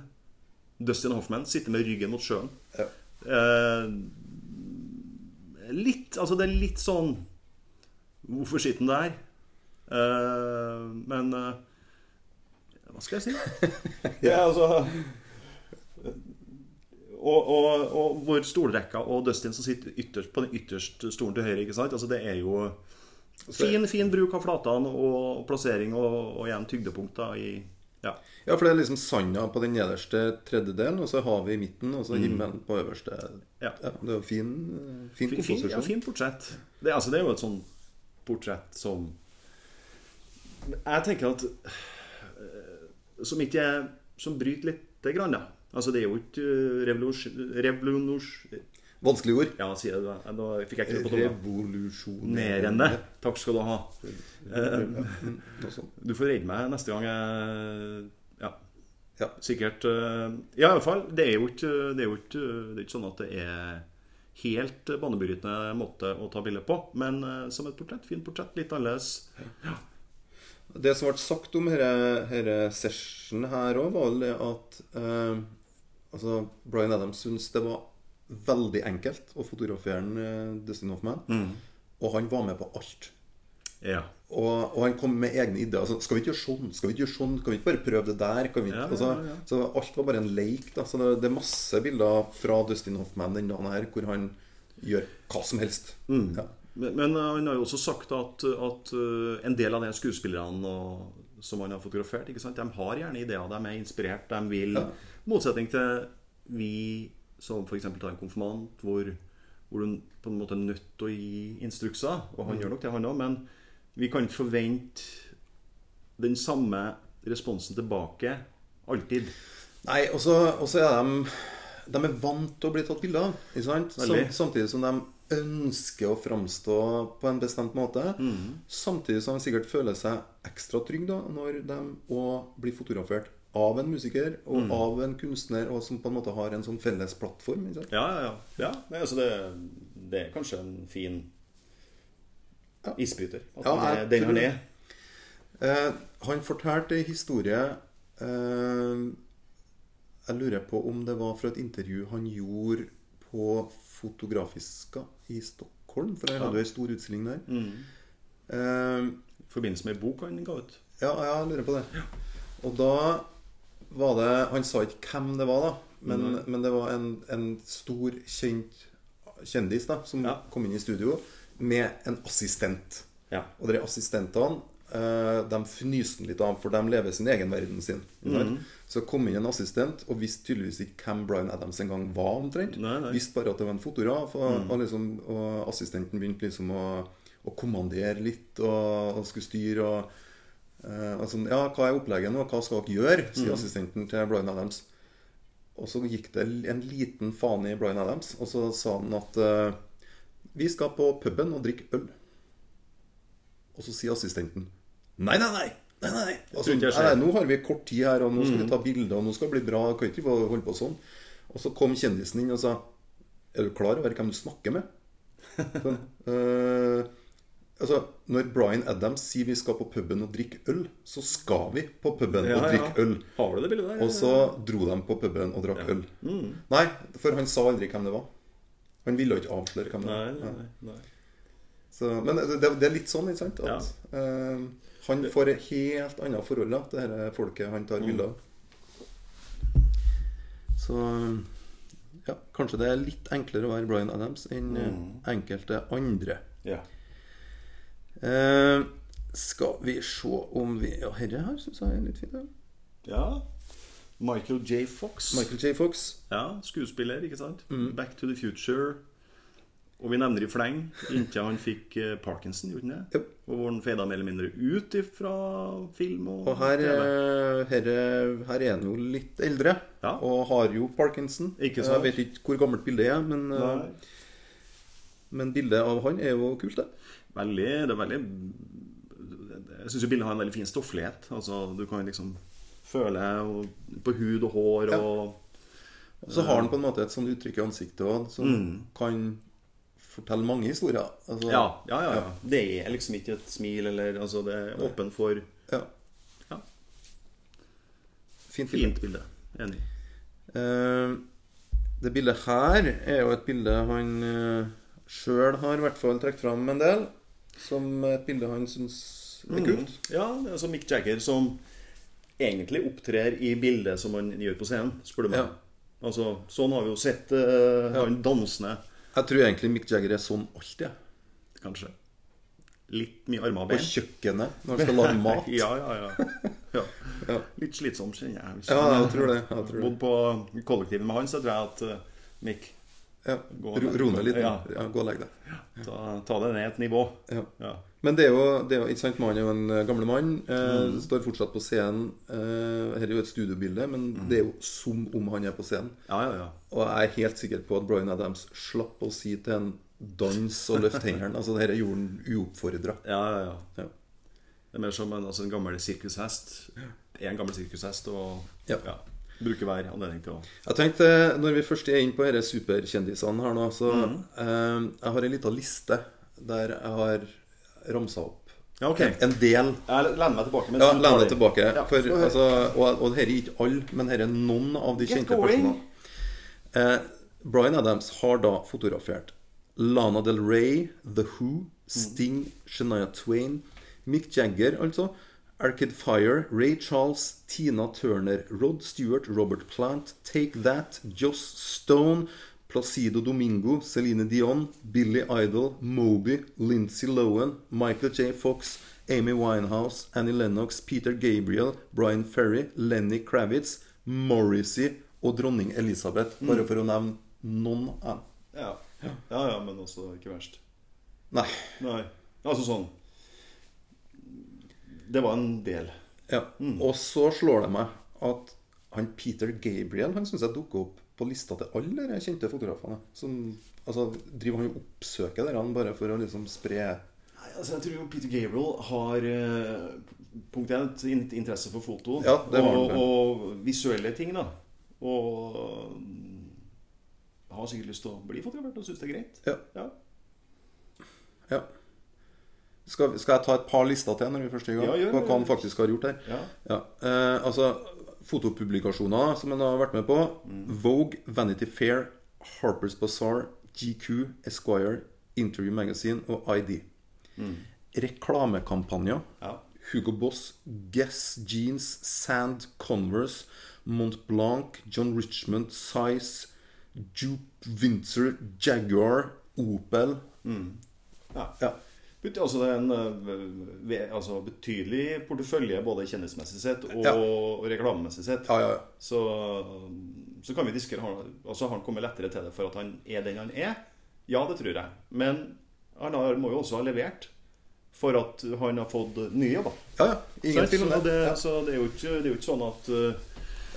[SPEAKER 2] Dustin Hoffman sitter med ryggen mot sjøen.
[SPEAKER 1] Ja.
[SPEAKER 2] Eh, litt Altså, det er litt sånn Hvorfor sitter han der? Eh, men eh, Hva skal jeg si? ja, altså og, og, og hvor stolrekka og Dustin som sitter ytterst på den ytterste stolen til høyre, ikke sant? Altså, det er jo Fin, fin bruk av flatene og plassering og, og igjen tyngdepunkt da i Ja.
[SPEAKER 1] Ja, for det er liksom sanda på den nederste tredjedelen, og så havet i midten, og så himmelen på øverste.
[SPEAKER 2] Mm. Ja.
[SPEAKER 1] det er jo fin, fin
[SPEAKER 2] Fin, fin, ja,
[SPEAKER 1] komposisjon.
[SPEAKER 2] fin portrett. Det, altså, det er jo et sånn portrett som Jeg tenker at eh, Som ikke er Som bryter lite grann, da. Altså, det er jo ikke revolusjoners...
[SPEAKER 1] Vanskelig ord.
[SPEAKER 2] Ja, sier jeg det. da. Nå fikk jeg ikke det på tunga.
[SPEAKER 1] Revolusjonerende.
[SPEAKER 2] Nerende. Takk skal du ha. Eh,
[SPEAKER 1] Mm, Noe sånt.
[SPEAKER 2] Du får redde meg neste gang jeg Ja.
[SPEAKER 1] Ja.
[SPEAKER 2] Sikkert. eh, Ja, iallfall. Det er jo ikke Det er jo ikke, det er ikke sånn at det er helt banebrytende måte å ta bilde på. Men eh, som et portrett. Fint portrett. Litt annerledes.
[SPEAKER 1] Det som ble sagt om denne session her òg, var vel det at eh, altså Bryan Adams syntes det var veldig enkelt å fotografere en, eh, Dustin Hoffman.
[SPEAKER 2] Mm.
[SPEAKER 1] Og han var med på alt.
[SPEAKER 2] Ja.
[SPEAKER 1] Og, og han kom med egne ideer. Altså, skal vi ikke gjøre sånn? Skal vi ikke gjøre sånn? Kan vi ikke bare prøve det der? Kan vi ikke?
[SPEAKER 2] Ja, ja,
[SPEAKER 1] altså,
[SPEAKER 2] ja.
[SPEAKER 1] Så alt var bare en leik. Da. Så det, det er masse bilder fra Dustin Hoffman den dagen her hvor han gjør hva som helst.
[SPEAKER 2] Mm.
[SPEAKER 1] Ja.
[SPEAKER 2] Men, men eh, han har jo også sagt at, at eh, en del av de skuespillerne og, som han har fotografert, ikke sant? de har gjerne ideer. De er inspirert. De vil Motsetning til vi som f.eks. tar en konfirmant, hvor, hvor du på en måte er nødt til å gi instrukser. Og han gjør nok det, han òg, men vi kan ikke forvente den samme responsen tilbake alltid.
[SPEAKER 1] Nei, og så og så er de De er vant til å bli tatt bilde av. Ikke sant? Sam,
[SPEAKER 2] Veldig.
[SPEAKER 1] samtidig som de ønsker å framstå på en bestemt måte. Samtidig som de sikkert føler seg ekstra trygge da, når de òg blir fotografert av en musiker og av en kunstner, og som på en måte har en sånn felles plattform. Ikke sant?
[SPEAKER 2] Ja, ja, ja. ja nei, altså det, det er kanskje en fin isbryter. At
[SPEAKER 1] Ja,
[SPEAKER 2] den er
[SPEAKER 1] jeg
[SPEAKER 2] den
[SPEAKER 1] tror
[SPEAKER 2] han
[SPEAKER 1] det.
[SPEAKER 2] er.
[SPEAKER 1] Eh, han fortalte en historie eh, Jeg lurer på om det var fra et intervju han gjorde på Fotografiska i Stockholm. Stockholm, for jeg hadde jo ei stor utstilling der. Eh,
[SPEAKER 2] I forbindelse med ei bok han ga ut.
[SPEAKER 1] Ja, ja, jeg lurer på det. Og da var det Han sa ikke hvem det var, da. Men, men det var en, en stor, kjent kjendis da, som
[SPEAKER 2] Ja.
[SPEAKER 1] kom inn i studio med en assistent.
[SPEAKER 2] Ja.
[SPEAKER 1] Og de assistentene eh, de fnyste han litt av, for de lever sin egen verden sin. ikke sant?
[SPEAKER 2] Mm.
[SPEAKER 1] Så kom inn en assistent og visste tydeligvis ikke hvem Bryan Adams engang var. omtrent.
[SPEAKER 2] Nei, Mm. nei.
[SPEAKER 1] Visste bare at det var en fotograf, og, og, liksom, og assistenten begynte liksom å, å kommandere litt og, og skulle styre. og Eh, altså, ja, hva er opplegget nå? Hva skal dere gjøre?
[SPEAKER 2] Mm.
[SPEAKER 1] sier assistenten til Bryan Adams. Og så gikk det en liten faen i Bryan Adams, og så sa han at eh, vi skal på puben og drikke øl. Og så sier assistenten nei, nei, nei. Nei, nei, nei. Altså, nei,
[SPEAKER 2] ikke jeg Mm. ser.
[SPEAKER 1] nei, nå har vi kort tid her, og nå skal vi ta bilder, og nå skal det bli bra. Kan ikke vi bare holde på sånn? Og så kom kjendisen inn og sa Er du klar over hvem du snakker med? Sånn, eh, altså, når Bryan Adams sier vi skal på puben og drikke øl, så skal vi på puben og drikke øl.
[SPEAKER 2] Har du det bildet der?
[SPEAKER 1] Og så dro de på puben og drakk øl.
[SPEAKER 2] Mm.
[SPEAKER 1] Nei, for han sa aldri hvem det var. Han ville ikke avsløre hvem det
[SPEAKER 2] Nei,
[SPEAKER 1] var.
[SPEAKER 2] nei, nei, nei.
[SPEAKER 1] Så, men det, det er litt sånn, ikke sant? At eh, han får et helt annet forhold da, til dette folket han
[SPEAKER 2] Mm.
[SPEAKER 1] tar bilder av. Så ja, kanskje det er litt enklere å være Bryan Adams enn eh,
[SPEAKER 2] Mm.
[SPEAKER 1] enkelte andre.
[SPEAKER 2] Ja.
[SPEAKER 1] Eh, skal vi se om vi Ja, herre her syns jeg er litt fint. Ja.
[SPEAKER 2] ja. Michael J. Fox.
[SPEAKER 1] Michael J. Fox.
[SPEAKER 2] Ja, skuespiller, ikke sant?
[SPEAKER 1] Mm.
[SPEAKER 2] Back to the future. Og vi nevner i fleng inntil han fikk eh, parkinson, gjorde han det?
[SPEAKER 1] Yep.
[SPEAKER 2] Og hvor han fada mer eller mindre ut ifra film og,
[SPEAKER 1] Og her,
[SPEAKER 2] TV.
[SPEAKER 1] eh, her, er- her er han jo litt eldre,
[SPEAKER 2] Ja.
[SPEAKER 1] og har jo parkinson.
[SPEAKER 2] Ikke sant?
[SPEAKER 1] Jeg vet ikke hvor gammelt bildet er, men, eh,
[SPEAKER 2] Nei.
[SPEAKER 1] men bildet av han er jo kult, det.
[SPEAKER 2] Veldig, det er veldig Jeg syns bildet har en veldig fin stofflighet. Altså, du kan liksom føle og, på hud og hår
[SPEAKER 1] Ja.
[SPEAKER 2] og
[SPEAKER 1] Og så har
[SPEAKER 2] Eh.
[SPEAKER 1] han på en måte et sånt uttrykk i ansiktet også, som kan fortelle mange historier. Altså,
[SPEAKER 2] Mm. ja, ja, ja, ja. Det er liksom ikke et smil eller Altså, det er åpen for
[SPEAKER 1] ja.
[SPEAKER 2] Ja,
[SPEAKER 1] Fint bilde.
[SPEAKER 2] fint bilde. Enig.
[SPEAKER 1] Eh, det bildet her er jo et bilde han uh, sjøl har i hvert fall trukket fram en del, som et bilde han syns
[SPEAKER 2] Mm.
[SPEAKER 1] er kult.
[SPEAKER 2] Ja, det er som Mick Jagger som egentlig opptrer i bildet som han gjør på scenen, spør du meg.
[SPEAKER 1] Ja.
[SPEAKER 2] Altså, sånn har vi jo sett eh, han dansende,
[SPEAKER 1] Jeg tror egentlig Mick Jagger er sånn alltid. jeg.
[SPEAKER 2] kanskje. Litt mye armer og
[SPEAKER 1] På
[SPEAKER 2] ben.
[SPEAKER 1] kjøkkenet når han skal lage mat.
[SPEAKER 2] Ja, ja, ja. ja.
[SPEAKER 1] Ja.
[SPEAKER 2] Litt slitsom, kjenner jeg. Hvis
[SPEAKER 1] Ja, jeg tror det. Jeg tror det.
[SPEAKER 2] Bodd på kollektivet med han, så tror jeg at eh, Mick,
[SPEAKER 1] Ja.
[SPEAKER 2] Gå og
[SPEAKER 1] Ro
[SPEAKER 2] legg
[SPEAKER 1] ro
[SPEAKER 2] deg.
[SPEAKER 1] ned litt. nå.
[SPEAKER 2] Ja.
[SPEAKER 1] Ja, gå og legg deg.
[SPEAKER 2] ta, ta det ned et nivå.
[SPEAKER 1] Ja.
[SPEAKER 2] Ja.
[SPEAKER 1] Men det er jo, det er jo ikke sant, mannen er jo en eh, gamle mann. Eh,
[SPEAKER 2] Mm.
[SPEAKER 1] Står fortsatt på scenen. Eh, her er jo et studiobilde, men det er jo som om han er på scenen.
[SPEAKER 2] Mm. ja, ja, ja.
[SPEAKER 1] Og jeg er helt sikker på at Bryan Adams slapp å si til en dans og løft hendene. Altså, dette gjorde han uoppfordra.
[SPEAKER 2] Ja, ja, ja.
[SPEAKER 1] Ja.
[SPEAKER 2] Det er mer som en, altså en gammel sirkushest. En gammel sirkushest og
[SPEAKER 1] Ja.
[SPEAKER 2] bruker hver anledning til å
[SPEAKER 1] Jeg tenkte, eh, når vi først er inne på disse superkjendisene her nå, så
[SPEAKER 2] Mm.
[SPEAKER 1] eh, Jeg har ei lita liste der jeg har ramsa opp
[SPEAKER 2] Ja, ok.
[SPEAKER 1] en del
[SPEAKER 2] Jeg lener meg tilbake. mens
[SPEAKER 1] Ja,
[SPEAKER 2] du tar
[SPEAKER 1] lene
[SPEAKER 2] det.
[SPEAKER 1] tilbake.
[SPEAKER 2] Ja,
[SPEAKER 1] For,
[SPEAKER 2] få høre.
[SPEAKER 1] altså, og, og dette er ikke alle, men dette er noen av de
[SPEAKER 2] Get
[SPEAKER 1] kjente
[SPEAKER 2] going.
[SPEAKER 1] personene. Eh, Bryan Adams har da fotografert Lana Del Rey, The Who, Sting, Shania Twain, Mick Jagger, altså, Arcade Fire, Ray Charles, Tina Turner, Rod Stewart, Robert Plant, Take That, Joss Stone, Placido Domingo, Celine Dion, Billy Idol, Moby, Lindsay Lohan, Michael J. Fox, Amy Winehouse, Annie Lennox, Peter Gabriel, Brian Ferry, Lenny Kravitz, Morrissey og dronning Elisabeth, bare for å nevne noen av dem.
[SPEAKER 2] Ja. ja, ja, men også ikke verst.
[SPEAKER 1] Nei.
[SPEAKER 2] Nei. Altså sånn Det var en del.
[SPEAKER 1] Ja. Og så slår det meg at han Peter Gabriel han syns jeg dukker opp på lista til alle de kjente fotografene. Som, altså, driver han og oppsøker dere bare for å liksom spre
[SPEAKER 2] Nei, altså Jeg tror jo Peter Gabriel har eh, punkt én et in- interesse for foto
[SPEAKER 1] Ja, det har
[SPEAKER 2] og,
[SPEAKER 1] han.
[SPEAKER 2] og visuelle ting, da. Og mm, har sikkert lyst til å bli fotografert og syns det er greit.
[SPEAKER 1] Ja.
[SPEAKER 2] Ja,
[SPEAKER 1] Ja. Skal, skal jeg ta et par lister til når vi først er i gang?
[SPEAKER 2] Ja, gjør
[SPEAKER 1] på
[SPEAKER 2] det.
[SPEAKER 1] hva han faktisk har gjort her?
[SPEAKER 2] Ja.
[SPEAKER 1] Eh, altså, fotopublikasjoner som han har vært med
[SPEAKER 2] Mm.
[SPEAKER 1] på. Vogue, Vanity Fair, Harper's Bazaar, GQ, Esquire, Interview Magazine og ID. Reklamekampanjer.
[SPEAKER 2] Mm. Ja.
[SPEAKER 1] Hugo Boss, Guess Jeans, Sand, Converse, Mont Blanc, John Richmond, Size, Jupe, Windsor, Jaguar, Opel
[SPEAKER 2] Ja.
[SPEAKER 1] Ja.
[SPEAKER 2] But- Altså det er en eh, ve- altså, betydelig portefølje både kjendismessig sett og,
[SPEAKER 1] Ja.
[SPEAKER 2] og reklamemessig sett.
[SPEAKER 1] Ja, ja, ja.
[SPEAKER 2] Så, så kan vi diskutere har han- altså, Har han kommet lettere til det for at han er den han er? Ja, det tror jeg. Men han har, må jo også ha levert for at han har fått nye jobber.
[SPEAKER 1] ja, ja. Ingen
[SPEAKER 2] Sant?
[SPEAKER 1] tvil om
[SPEAKER 2] Så,
[SPEAKER 1] det.
[SPEAKER 2] det, så det, er jo ikke, det er jo ikke sånn at eh,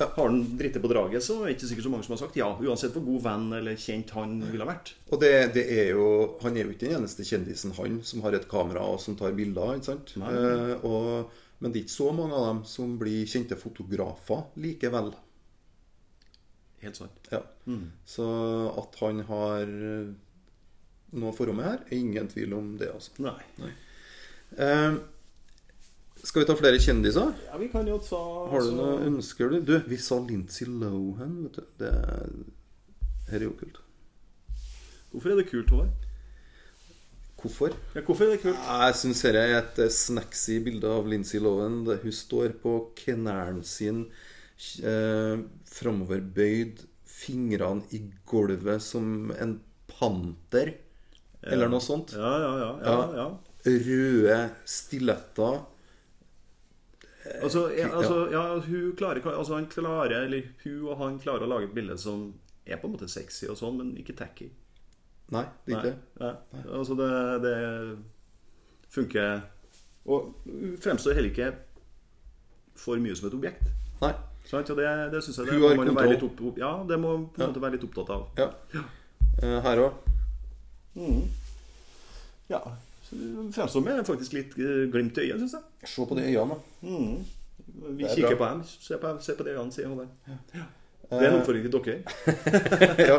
[SPEAKER 1] Ja.
[SPEAKER 2] har han drittet på draget, så er det ikke sikkert så mange som har sagt ja. Uansett hvor god venn eller kjent han ville ha vært.
[SPEAKER 1] Og det, det er jo, han er jo ikke den eneste kjendisen, han, som har et kamera og som tar bilder. ikke sant?
[SPEAKER 2] Nei.
[SPEAKER 1] Eh, og, men det er ikke så mange av dem som blir kjente fotografer likevel.
[SPEAKER 2] Helt sant. Mm.
[SPEAKER 1] Ja. Så at han har eh, noe forrommet her, er ingen tvil om det. altså.
[SPEAKER 2] Nei.
[SPEAKER 1] Eh, skal vi ta flere kjendiser?
[SPEAKER 2] Ja, vi kan jo ta
[SPEAKER 1] Har du
[SPEAKER 2] altså-
[SPEAKER 1] noe ønsker du? Du, vi sa Lindsay Lohan, vet du. Det er, her er jo kult.
[SPEAKER 2] Hvorfor er det kult, Håvard?
[SPEAKER 1] Hvorfor?
[SPEAKER 2] Ja, hvorfor er det kult?
[SPEAKER 1] Jeg syns dette er et eh, snaxy bilde av Lindsay Lohan. der Hun står på knærne sine, eh, framoverbøyd, fingrene i gulvet som en panter, eller noe sånt.
[SPEAKER 2] Ja, ja, ja. ja, ja.
[SPEAKER 1] Røde stiletter.
[SPEAKER 2] Altså, ja, altså, ja hun klarer, altså, han klarer, eller hun og han klarer å lage et bilde som er på en måte sexy og sånn, men ikke tacky.
[SPEAKER 1] Nei, det er
[SPEAKER 2] Nei,
[SPEAKER 1] ikke det.
[SPEAKER 2] nei. Altså, det, det funker Og hun fremstår heller ikke for mye som et objekt.
[SPEAKER 1] Nei.
[SPEAKER 2] Sant? Og det, det syns jeg det
[SPEAKER 1] Hun
[SPEAKER 2] må
[SPEAKER 1] har
[SPEAKER 2] man jo være litt
[SPEAKER 1] kontroll.
[SPEAKER 2] opp, opp, Ja, det må man på en måte være litt opptatt av.
[SPEAKER 1] Ja. Eh, Her òg.
[SPEAKER 2] Ja. så hun Fremstår med faktisk litt eh, glimt i øyet, syns jeg.
[SPEAKER 1] Se på de øynene, da.
[SPEAKER 2] Vi
[SPEAKER 1] er
[SPEAKER 2] kikker
[SPEAKER 1] bra.
[SPEAKER 2] på dem. Se på, se på det han sier. Håvard. Det er en oppfordring til dere.
[SPEAKER 1] ja.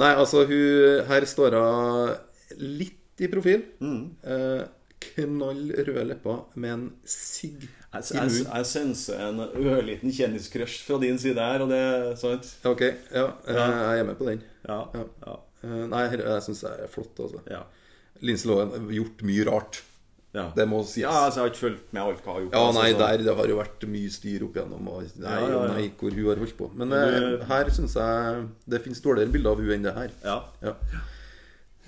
[SPEAKER 1] Nei, altså, hun Her står hun litt i profil.
[SPEAKER 2] Mm.
[SPEAKER 1] Eh, knall røde lepper med en sigg
[SPEAKER 2] Jeg,
[SPEAKER 1] i
[SPEAKER 2] jeg,
[SPEAKER 1] munnen.
[SPEAKER 2] jeg senser en ørliten kjendiscrush fra din side her, og det er sant?
[SPEAKER 1] Ok, ja, eh, jeg er med på den.
[SPEAKER 2] Ja.
[SPEAKER 1] Ja.
[SPEAKER 2] ja,
[SPEAKER 1] Eh, Nei, her- jeg syns det er flott, altså.
[SPEAKER 2] ja.
[SPEAKER 1] Lindsay Lohan har gjort mye rart.
[SPEAKER 2] ja.
[SPEAKER 1] Det må sies.
[SPEAKER 2] ja altså, jeg har ikke fulgt med alt hva jeg har gjort.
[SPEAKER 1] Ja,
[SPEAKER 2] altså,
[SPEAKER 1] nei,
[SPEAKER 2] så-
[SPEAKER 1] der det har jo vært mye styr opp igjennom og nei,
[SPEAKER 2] Ja, ja, ja.
[SPEAKER 1] og nei, hvor hun har holdt på. Men eh,
[SPEAKER 2] Du-
[SPEAKER 1] her syns jeg det finnes dårligere bilder av hun enn det her.
[SPEAKER 2] Ja.
[SPEAKER 1] Ja.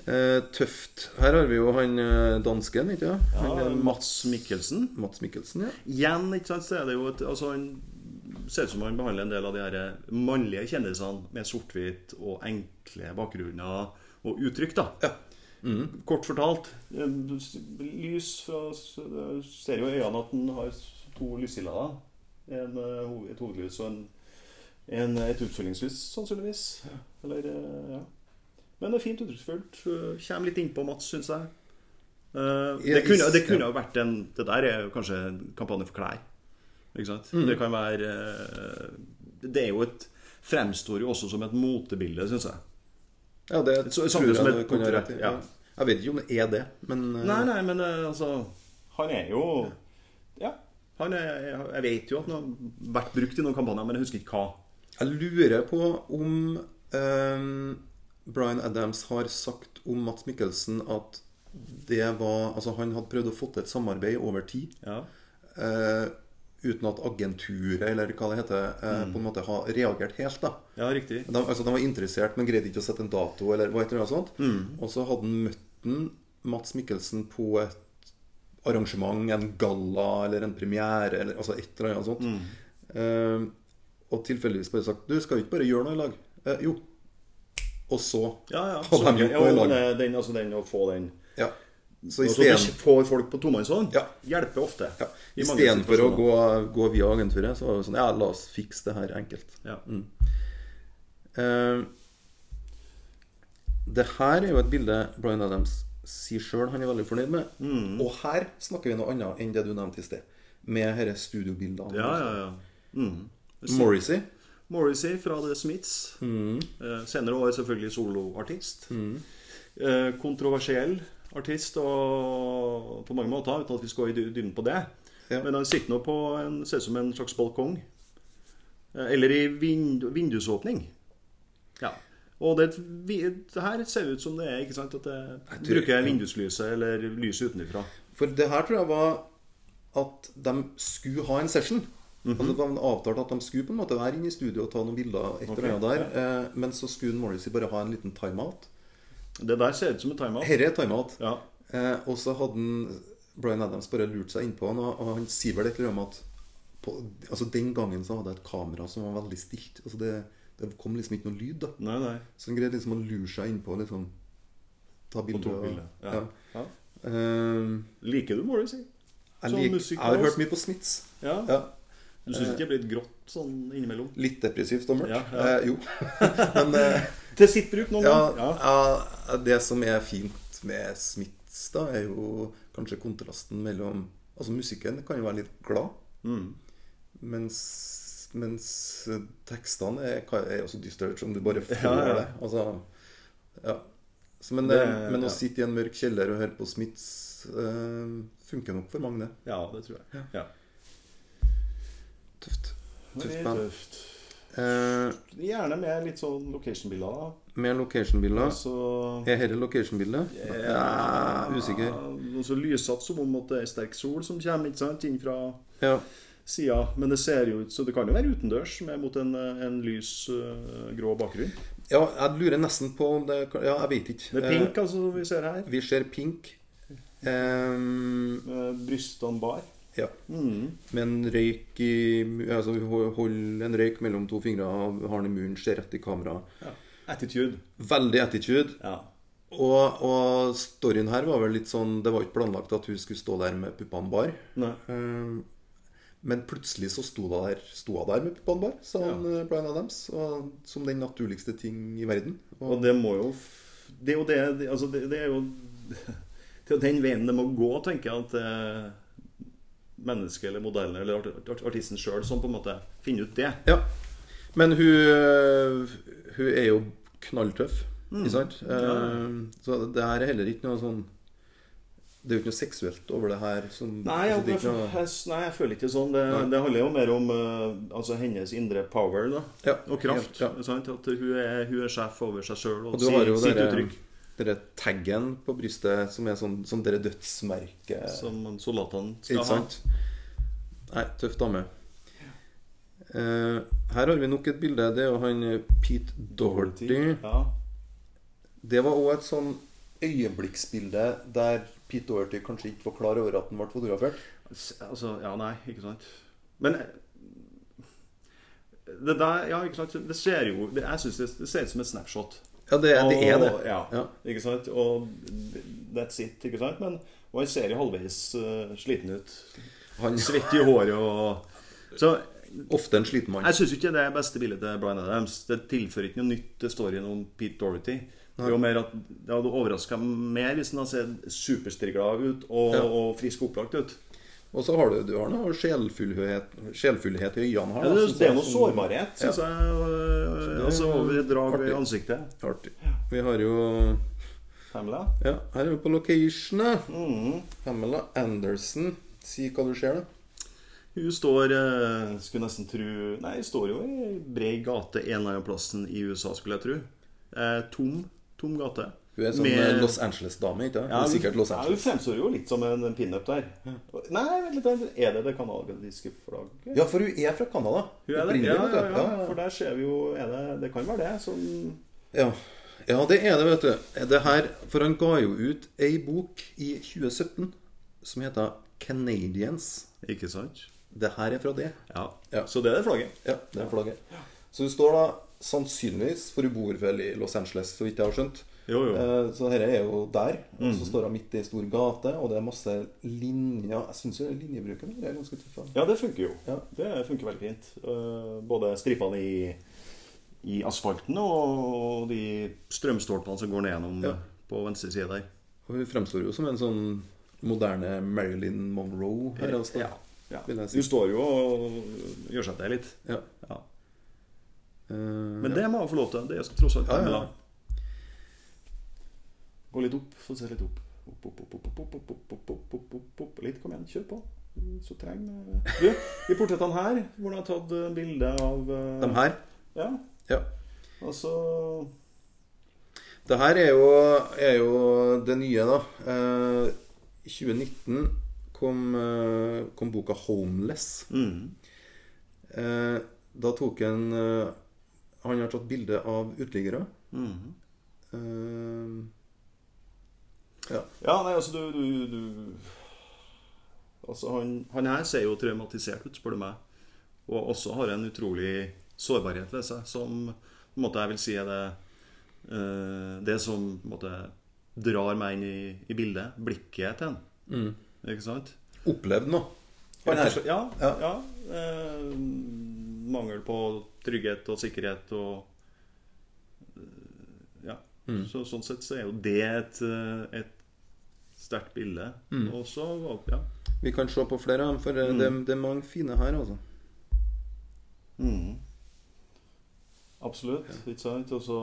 [SPEAKER 1] Eh, tøft. Her har vi jo han eh, dansken, ikke sant?
[SPEAKER 2] Ja,
[SPEAKER 1] Han, eh,
[SPEAKER 2] Mats Mikkelsen.
[SPEAKER 1] Mats Mikkelsen, ja.
[SPEAKER 2] Igjen, ikke sant, så er det jo et altså, Han ser ut som han behandler en del av de her eh, mannlige kjendisene med sort-hvitt og enkle bakgrunner og uttrykk, da. Kort fortalt. eh, Lys fra du Ser jo i øynene at han har to lyssilder. En, eh, hov- et hovedlys og en, en, et utfølgingslys, sannsynligvis. Eller, eh, ja. Men det er fint uttrykksfullt. Eh, Kommer litt innpå Mats, syns jeg. Eh,
[SPEAKER 1] Ja,
[SPEAKER 2] Det kunne, det
[SPEAKER 1] is-
[SPEAKER 2] kunne ha vært en Det der er jo kanskje en kampanje for klær. Ikke sant?
[SPEAKER 1] Mhm.
[SPEAKER 2] Det kan være eh, Det er jo et Fremstår jo også som et motebilde, syns jeg.
[SPEAKER 1] Ja, det
[SPEAKER 2] Så-
[SPEAKER 1] tror
[SPEAKER 2] samme
[SPEAKER 1] jeg
[SPEAKER 2] som et
[SPEAKER 1] det kan være
[SPEAKER 2] portrett,
[SPEAKER 1] rett i.
[SPEAKER 2] ja.
[SPEAKER 1] Jeg vet ikke om det er det, men eh,
[SPEAKER 2] Nei, nei, men eh, altså Han er jo Ja. Han er, jeg- jeg vet jo at han har vært brukt i noen kampanjer, men jeg husker ikke hva.
[SPEAKER 1] jeg lurer på om eh, Bryan Adams har sagt om Mats Mikkelsen at det var Altså, han hadde prøvd å få til et samarbeid over tid.
[SPEAKER 2] Ja.
[SPEAKER 1] eh, uten at agenturet, eller hva det heter, eh,
[SPEAKER 2] Mm.
[SPEAKER 1] på en måte har reagert helt. da.
[SPEAKER 2] ja, riktig.
[SPEAKER 1] De, altså, de var interessert, men greide ikke å sette en dato. eller hva heter det, og sånt.
[SPEAKER 2] Mm.
[SPEAKER 1] Og så hadde han møtt den, Mats Mikkelsen på et arrangement, en galla eller en premiere, eller altså et eller annet sånt.
[SPEAKER 2] Mm.
[SPEAKER 1] Eh, og tilfeldigvis bare sagt 'Du, skal vi ikke bare gjøre noe i lag?' Eh, jo. Og så
[SPEAKER 2] Ja, ja.
[SPEAKER 1] hadde de gjort
[SPEAKER 2] ja,
[SPEAKER 1] noe i
[SPEAKER 2] men,
[SPEAKER 1] lag.
[SPEAKER 2] eh, den, altså, den å få den
[SPEAKER 1] Ja. Så
[SPEAKER 2] Altså, det
[SPEAKER 1] isteden
[SPEAKER 2] får folk på tomannshånd.
[SPEAKER 1] Ja.
[SPEAKER 2] Hjelper ofte.
[SPEAKER 1] ja.
[SPEAKER 2] I mange
[SPEAKER 1] Istedenfor å
[SPEAKER 2] situasjoner.
[SPEAKER 1] gå, gå via agenturet, så var det sånn Ja, la oss fikse det her enkelt.
[SPEAKER 2] Ja.
[SPEAKER 1] Eh, Det her er jo et bilde Bryan Adams sier sjøl han er veldig fornøyd med.
[SPEAKER 2] Mm.
[SPEAKER 1] Og her snakker vi noe annet enn det du nevnte i sted. Med disse studiobildene.
[SPEAKER 2] ja, ja, Mm. ja.
[SPEAKER 1] Morrissey.
[SPEAKER 2] Morrissey fra The Smiths. Eh, senere år selvfølgelig soloartist. Eh, kontroversiell artist og på mange måter, uten at vi skal gå i dy- dybden på det.
[SPEAKER 1] Ja.
[SPEAKER 2] Men han sitter nå på en, ser ut som en slags balkong. Eh, eller i vind, vindusåpning. Ja. Og det, er et vi- det her ser ut som det er, ikke sant? At det
[SPEAKER 1] tror-
[SPEAKER 2] bruker vinduslyset eller lyset utenfra.
[SPEAKER 1] For det her tror jeg var at de skulle ha en session.
[SPEAKER 2] Mhm.
[SPEAKER 1] Altså det var en avtalt at de skulle på en måte være inne i studio og ta noen bilder, og et eller annet
[SPEAKER 2] Ok,
[SPEAKER 1] der. Eh, Men så skulle Morrissey bare ha en liten timeout.
[SPEAKER 2] Det der ser ut som en timeout.
[SPEAKER 1] Herre er timeout.
[SPEAKER 2] Ja.
[SPEAKER 1] Eh, og så hadde han, Bryan Adams bare lurt seg innpå han, og og han sier vel et eller annet om at på, altså Den gangen så hadde jeg et kamera som var veldig stilt. Altså det, det kom liksom ikke noe lyd. da
[SPEAKER 2] Nei, nei.
[SPEAKER 1] Så han greide liksom å lure seg innpå og liksom ta bilder.
[SPEAKER 2] tok bilder, ja. Ja.
[SPEAKER 1] Eh,
[SPEAKER 2] Liker du Morrissey?
[SPEAKER 1] jeg,
[SPEAKER 2] Sånn
[SPEAKER 1] lik,
[SPEAKER 2] musikk
[SPEAKER 1] jeg har
[SPEAKER 2] også.
[SPEAKER 1] hørt mye på Smiths.
[SPEAKER 2] Ja.
[SPEAKER 1] Ja.
[SPEAKER 2] Du syns ikke det blir litt grått sånn innimellom?
[SPEAKER 1] Litt depressivt og mørkt.
[SPEAKER 2] Ja, ja.
[SPEAKER 1] Eh, jo. Men eh,
[SPEAKER 2] Til sitt bruk noen
[SPEAKER 1] ja,
[SPEAKER 2] ganger. Ja.
[SPEAKER 1] ja, det som er fint med Smiths, da, er jo kanskje kontrasten mellom Altså, musikken kan jo være litt glad,
[SPEAKER 2] Mm.
[SPEAKER 1] mens, mens tekstene er, kan- er jo så dystre som du bare får
[SPEAKER 2] Ja, ja.
[SPEAKER 1] det. Altså, ja. Så, men, eh,
[SPEAKER 2] Det-
[SPEAKER 1] men
[SPEAKER 2] ja.
[SPEAKER 1] å sitte i en mørk kjeller og høre på Smiths eh, funker nok for mange, det.
[SPEAKER 2] ja, det tror jeg. Ja.
[SPEAKER 1] Tøft. Tøft
[SPEAKER 2] Veldig
[SPEAKER 1] band.
[SPEAKER 2] tøft.
[SPEAKER 1] Eh,
[SPEAKER 2] Gjerne med litt sånn location-bilder. da.
[SPEAKER 1] med location-bilder.
[SPEAKER 2] Så
[SPEAKER 1] Er dette location-bildet? Ja, usikker.
[SPEAKER 2] Og så lysete som om at det er sterk sol som kommer ikke sant, inn fra
[SPEAKER 1] Ja.
[SPEAKER 2] sida. Men det ser jo ut Så det kan jo være utendørs med mot en, en lys øh, grå bakgrunn.
[SPEAKER 1] ja, jeg lurer nesten på om det Ja, jeg vet ikke.
[SPEAKER 2] Det er pink, altså, som vi ser her.
[SPEAKER 1] Eh, vi ser pink. Ehm,
[SPEAKER 2] Med brystene bar.
[SPEAKER 1] ja. Med en røyk i Altså ho- hold en røyk mellom to fingre, har den i munnen, ser rett i kamera.
[SPEAKER 2] Attitude.
[SPEAKER 1] Veldig attitude.
[SPEAKER 2] Ja.
[SPEAKER 1] Og, og storyen her var vel litt sånn Det var ikke planlagt at hun skulle stå der med puppene bar.
[SPEAKER 2] Nei.
[SPEAKER 1] Ehm, Men plutselig så sto hun der, sto hun der med puppene bar, sa han eh, Bryan Adams. Og, som den naturligste ting i verden.
[SPEAKER 2] Og det må jo f- Det er jo det det- Altså, det, det er jo Det er jo den veien det må gå, tenker jeg, at eh, mennesket eller modellen eller art- art- artisten sjøl som på en måte finner ut det.
[SPEAKER 1] Ja. Men hun, eh, hun er jo knalltøff,
[SPEAKER 2] Mm.
[SPEAKER 1] ikke sant? Eh, Så det her er heller ikke noe sånn Det er jo ikke noe seksuelt over det her. Som,
[SPEAKER 2] Nei,
[SPEAKER 1] altså,
[SPEAKER 2] jeg,
[SPEAKER 1] det er
[SPEAKER 2] jeg,
[SPEAKER 1] ikke noe,
[SPEAKER 2] jeg, nei, jeg føler ikke sånn. Det, det handler jo mer om eh, altså hennes indre power da,
[SPEAKER 1] Ja,
[SPEAKER 2] og kraft.
[SPEAKER 1] ja, ja.
[SPEAKER 2] Sant? At hun er, hun er sjef over seg sjøl og,
[SPEAKER 1] og du
[SPEAKER 2] sier
[SPEAKER 1] har jo
[SPEAKER 2] sitt
[SPEAKER 1] dere,
[SPEAKER 2] uttrykk.
[SPEAKER 1] dere taggen på brystet som er sånn som dere dødsmerket
[SPEAKER 2] Som soldatene skal
[SPEAKER 1] Ikke
[SPEAKER 2] ha.
[SPEAKER 1] sant? Nei, tøff dame. Eh, her har vi nok et bilde. Det er jo han eh, Pete Doherty.
[SPEAKER 2] Ja.
[SPEAKER 1] Det var òg et sånn øyeblikksbilde der Pete Doherty kanskje ikke var klar over at han ble fotografert.
[SPEAKER 2] S- Altså, ja, nei, ikke sant. Men eh, det der, ja, ikke sant. Det ser jo det, Jeg syns det, det ser ut som et snapshot.
[SPEAKER 1] Ja, det, det er det.
[SPEAKER 2] Og- Ja,
[SPEAKER 1] Ja.
[SPEAKER 2] ikke sant. Og that's it, ikke sant. Men, og han ser jo halvveis eh, sliten ut.
[SPEAKER 1] Han er
[SPEAKER 2] Svett i håret og Så
[SPEAKER 1] ofte en sliten mann.
[SPEAKER 2] jeg syns ikke det er beste bildet til Bryan Adams. Det tilfører ikke noe nytt til storyen om Pete Dorothy. Det er jo mer at Det hadde overraska mer hvis han hadde sett superstrigla ut og,
[SPEAKER 1] Ja.
[SPEAKER 2] og frisk opplagt ut.
[SPEAKER 1] Og så har du, du har noe sjelfullhet, sjelfullhet i øynene her.
[SPEAKER 2] Ja,
[SPEAKER 1] da,
[SPEAKER 2] det,
[SPEAKER 1] synes
[SPEAKER 2] det er
[SPEAKER 1] jeg,
[SPEAKER 2] noe
[SPEAKER 1] som-
[SPEAKER 2] sårbarhet, syns jeg. øh, Altså over et drag
[SPEAKER 1] artig.
[SPEAKER 2] i ansiktet.
[SPEAKER 1] Artig. Vi har jo
[SPEAKER 2] Pamela.
[SPEAKER 1] Ja, her er vi på locationet.
[SPEAKER 2] Mm.
[SPEAKER 1] Pamela Anderson. Si hva du ser, da.
[SPEAKER 2] Hun står øh, Skulle nesten tru Nei, hun står jo i ei brei gate en eller annen plassen i USA, skulle jeg tro. Eh, tom. Tom gate.
[SPEAKER 1] Hun er sånn
[SPEAKER 2] Med-
[SPEAKER 1] eh, Los Angeles-dame, ikke sant? Hun er sikkert Los
[SPEAKER 2] Ja, hun
[SPEAKER 1] Angeles.
[SPEAKER 2] fremstår jo litt som en en pinup der. Nei, vent litt. Er det det kanadiske flagget?
[SPEAKER 1] Ja, for hun er fra Canada.
[SPEAKER 2] Hun er det?
[SPEAKER 1] Opprinnelig,
[SPEAKER 2] Ja,
[SPEAKER 1] vet du.
[SPEAKER 2] ja, ja. For der ser vi jo er det, det kan være det som
[SPEAKER 1] Ja. ja, det er det, vet du. Det her, for han ga jo ut ei bok i 2017 som heter 'Canadians'.
[SPEAKER 2] Ikke sant?
[SPEAKER 1] Det her er fra det.
[SPEAKER 2] Ja.
[SPEAKER 1] Ja.
[SPEAKER 2] Så det er det flagget.
[SPEAKER 1] Ja, det er flagget. Så hun står da sannsynligvis, for hun bor vel i Los Angeles, så vidt jeg har skjønt.
[SPEAKER 2] Jo, jo.
[SPEAKER 1] Eh, Så dette er jo der. Og så står hun midt i ei stor gate, og det er masse linjer. Jeg syns jo linjebruken er ganske tøff. da.
[SPEAKER 2] Ja, det funker jo.
[SPEAKER 1] Ja.
[SPEAKER 2] Det funker veldig fint. Eh, Både stripene i, i asfalten og de strømstolpene som går ned gjennom
[SPEAKER 1] Ja.
[SPEAKER 2] på venstre side der.
[SPEAKER 1] Og hun fremstår jo som en sånn moderne Marilyn Monroe her. Altså.
[SPEAKER 2] Ja. ja.
[SPEAKER 1] Vil jeg si.
[SPEAKER 2] Du står jo og gjør seg til litt.
[SPEAKER 1] Ja.
[SPEAKER 2] Ja.
[SPEAKER 1] Eh,
[SPEAKER 2] Men det må jeg få lov til. Det er tross alt
[SPEAKER 1] Ja, ja.
[SPEAKER 2] Camilla. Gå litt opp. Få se litt opp. Opp, opp, opp, opp, opp, opp, opp, opp, opp, opp, opp, opp. Litt, kom igjen. Kjør på. Så treng Du, i portrettene her, hvor du har tatt eh, bilde av eh,
[SPEAKER 1] De her?
[SPEAKER 2] Ja,
[SPEAKER 1] Ja.
[SPEAKER 2] Altså
[SPEAKER 1] Det her er jo, er jo det nye, da. Eh, I 2019 kom, eh, kom boka 'Homeless'. Eh, da tok en eh, Han har tatt bilde av uteliggere.
[SPEAKER 2] Mm.
[SPEAKER 1] Eh, ja.
[SPEAKER 2] Ja, nei, altså, du, du, du Altså, han, han her ser jo traumatisert ut, spør du meg. Og også har en utrolig sårbarhet ved seg, som på en måte jeg vil si er det eh, Det som på en måte drar meg inn i, i bildet. Blikket til han. Ikke sant?
[SPEAKER 1] Opplevd noe. Han
[SPEAKER 2] Ja,
[SPEAKER 1] her.
[SPEAKER 2] ja.
[SPEAKER 1] Ja.
[SPEAKER 2] ja eh, mangel på trygghet og sikkerhet og eh, Ja. Så, sånn sett så er jo det et, eh, et sterkt bilde. Og så ja.
[SPEAKER 1] Vi kan se på flere av dem, for eh, det, det er mange fine her, altså.
[SPEAKER 2] Mm. Absolutt. Ikke sant? Og så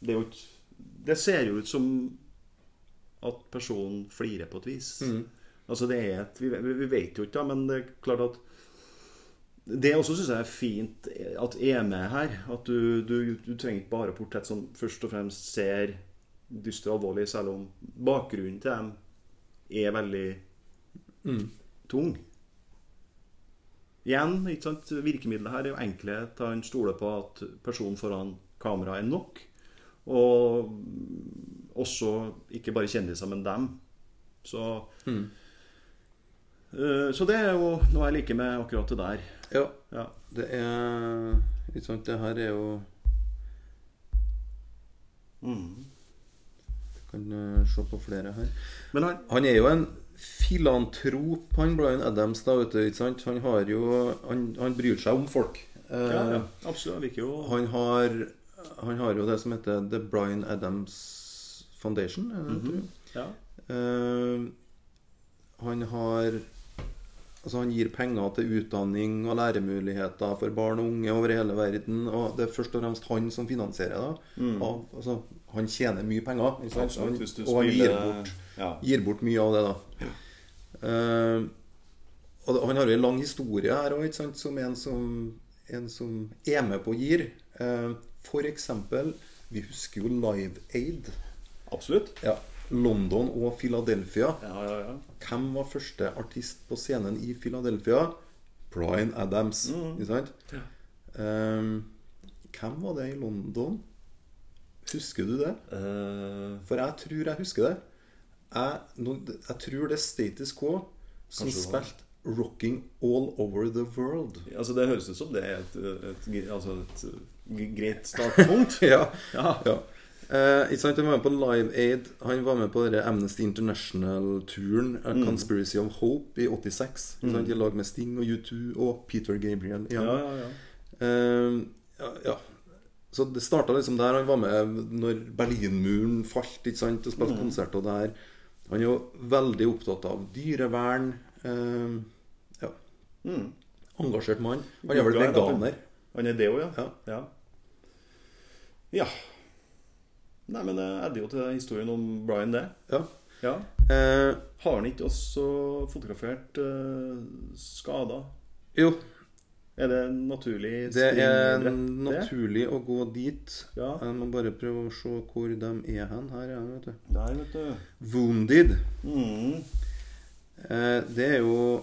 [SPEAKER 2] Det er jo ikke Det ser jo ut som at personen flirer på et vis.
[SPEAKER 1] Mm.
[SPEAKER 2] Altså det er et Vi, ve- vi vet jo ikke, da, men det er klart at det også syns jeg er fint at er med her. At du, du, du trenger ikke bare portrett som først og fremst ser dyster og alvorlig, selv om bakgrunnen til dem er veldig tung. Igjen, ikke sant? virkemidlet her er jo enkelhet. Han stoler på at personen foran kamera er nok. Og også ikke bare kjendiser, men dem. Så, Eh, så det er jo noe jeg liker med akkurat det der.
[SPEAKER 1] Ja.
[SPEAKER 2] Ja.
[SPEAKER 1] Det er Ikke sant, det her er jo
[SPEAKER 2] Mm.
[SPEAKER 1] Du kan eh, se på flere her.
[SPEAKER 2] Men han
[SPEAKER 1] Han er jo en filantrop, han Brian Adams, da, vet du. Ikke sant? Han har jo Han, han bryr seg om folk. Eh,
[SPEAKER 2] ja, ja, absolutt, jeg liker jo
[SPEAKER 1] han, har, han har jo det som heter The Brian Adams Foundation. Er det,
[SPEAKER 2] Mhm.
[SPEAKER 1] det, tror jeg?
[SPEAKER 2] ja.
[SPEAKER 1] Eh, han har Altså han gir penger til utdanning og læremuligheter for barn og unge over hele verden. Og det er først og fremst han som finansierer det. Av, altså, han tjener mye penger. Ikke sant?
[SPEAKER 2] Mm. Absolutt,
[SPEAKER 1] Han-
[SPEAKER 2] hvis du
[SPEAKER 1] og han gir
[SPEAKER 2] spiller-
[SPEAKER 1] bort,
[SPEAKER 2] ja.
[SPEAKER 1] gir bort mye av det, da. Eh, og det, han har jo en lang historie her òg, som en som, en som er med på gir. Uh, for eksempel, vi husker jo Live Aid.
[SPEAKER 2] Absolutt.
[SPEAKER 1] Ja, London og Philadelphia.
[SPEAKER 2] Ja, ja, ja.
[SPEAKER 1] Hvem var første artist på scenen i Philadelphia? Bryan Adams.
[SPEAKER 2] Mm.
[SPEAKER 1] Ikke sant? Ehm, hvem var det i London? Husker du det?
[SPEAKER 2] Eh,
[SPEAKER 1] For jeg tror jeg husker det. Jeg, nå- jeg tror det er Status Quo som
[SPEAKER 2] Kanskje det var.
[SPEAKER 1] spilte 'Rocking All Over The World'.
[SPEAKER 2] altså det høres ut som det er et, et, et, altså et g- greit startpunkt.
[SPEAKER 1] ja.
[SPEAKER 2] Ja.
[SPEAKER 1] ja. Eh, ikke sant, Han var med på Live Aid. Han var med på denne Amnesty International-turen eh,
[SPEAKER 2] Mm.
[SPEAKER 1] Conspiracy of Hope i 86. Ikke sant, I lag med Sting og U2 og Peter Gabriel. igjen.
[SPEAKER 2] Ja, ja, ja.
[SPEAKER 1] Eh, ja, ja. Så det starta liksom der. Han var med når Berlinmuren falt, ikke sant, og
[SPEAKER 2] Mm.
[SPEAKER 1] spilte konserter der. Han er jo veldig opptatt av dyrevern. eh, ja.
[SPEAKER 2] Mm.
[SPEAKER 1] Engasjert mann. Han er vel
[SPEAKER 2] Yoga er da-
[SPEAKER 1] veganer.
[SPEAKER 2] Han er det òg, ja.
[SPEAKER 1] Ja.
[SPEAKER 2] ja. Ja. Nei, men jeg adder jo til historien om Brian, det.
[SPEAKER 1] Ja.
[SPEAKER 2] Ja.
[SPEAKER 1] Eh,
[SPEAKER 2] Har han ikke også fotografert eh, skader?
[SPEAKER 1] jo,
[SPEAKER 2] Er det en naturlig
[SPEAKER 1] Det er
[SPEAKER 2] springbrett, det?
[SPEAKER 1] naturlig å gå dit.
[SPEAKER 2] Ja.
[SPEAKER 1] Jeg må bare prøve å se hvor de er hen. Her er de, vet du.
[SPEAKER 2] Der, vet du.
[SPEAKER 1] Wounded.
[SPEAKER 2] Mm.
[SPEAKER 1] Eh, Det er jo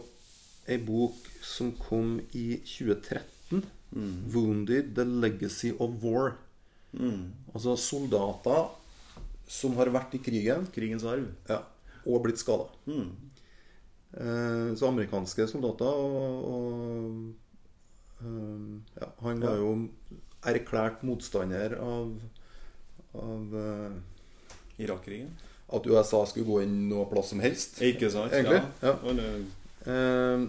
[SPEAKER 1] ei bok som kom i 2013.
[SPEAKER 2] Mm.
[SPEAKER 1] Wounded The Legacy of War.
[SPEAKER 2] Mm.
[SPEAKER 1] Altså soldater som har vært i krigen
[SPEAKER 2] Krigens arv.
[SPEAKER 1] ja, og blitt skada. Eh, så amerikanske soldater og, og eh, ja, Han var jo erklært motstander av, av eh,
[SPEAKER 2] Irak-krigen.
[SPEAKER 1] at USA skulle gå inn noe plass som helst.
[SPEAKER 2] Ikke sant?
[SPEAKER 1] Egentlig, ja.
[SPEAKER 2] Og det-
[SPEAKER 1] Eh,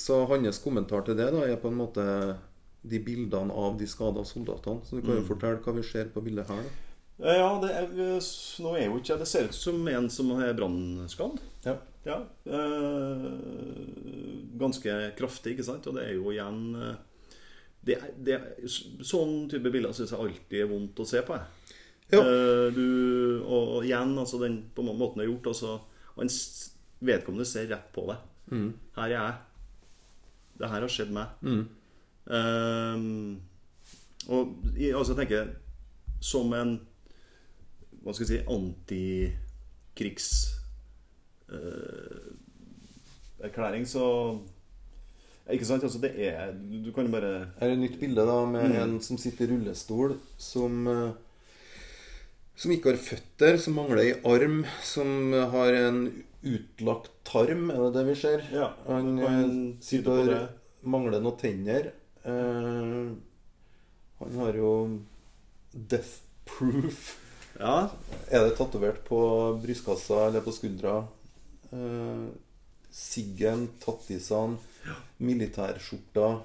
[SPEAKER 1] så hans kommentar til det da er på en måte de bildene av de skada soldatene. Så du kan jo fortelle hva vi ser på bildet her. da.
[SPEAKER 2] Eh, Ja, det, er, nå er jo ikke jeg Det ser ut som en som er brannskadd.
[SPEAKER 1] Ja.
[SPEAKER 2] Ja. Eh, ganske kraftig, ikke sant? Og det er jo igjen eh, det, er- det, er- Sånn type bilder syns jeg alltid er vondt å se på. Jeg.
[SPEAKER 1] Ja.
[SPEAKER 2] Eh, du, og, og igjen, altså den på den måten det er gjort altså, og en s- Vedkommende ser rett på det.
[SPEAKER 1] Mm.
[SPEAKER 2] Her er jeg. Det her har skjedd meg.
[SPEAKER 1] Mm.
[SPEAKER 2] Eh, og i- altså, jeg tenker Som en hva skal jeg si, antikrigs eh, erklæring, så Ikke sant? Altså, det er Du du kan jo bare
[SPEAKER 1] Her er et nytt bilde da med
[SPEAKER 2] Mm.
[SPEAKER 1] en som sitter i rullestol, som eh, Som ikke har føtter, som mangler ei arm, som har en utlagt tarm, er det det vi ser?
[SPEAKER 2] Ja,
[SPEAKER 1] Han
[SPEAKER 2] du kan
[SPEAKER 1] eh,
[SPEAKER 2] tyde på
[SPEAKER 1] sitter
[SPEAKER 2] det.
[SPEAKER 1] Mangler noen tenner. Eh, han har jo death proof.
[SPEAKER 2] Ja,
[SPEAKER 1] Er det tatovert på brystkassa eller på skuldra? Eh, Siggen, tattisene, militærskjorta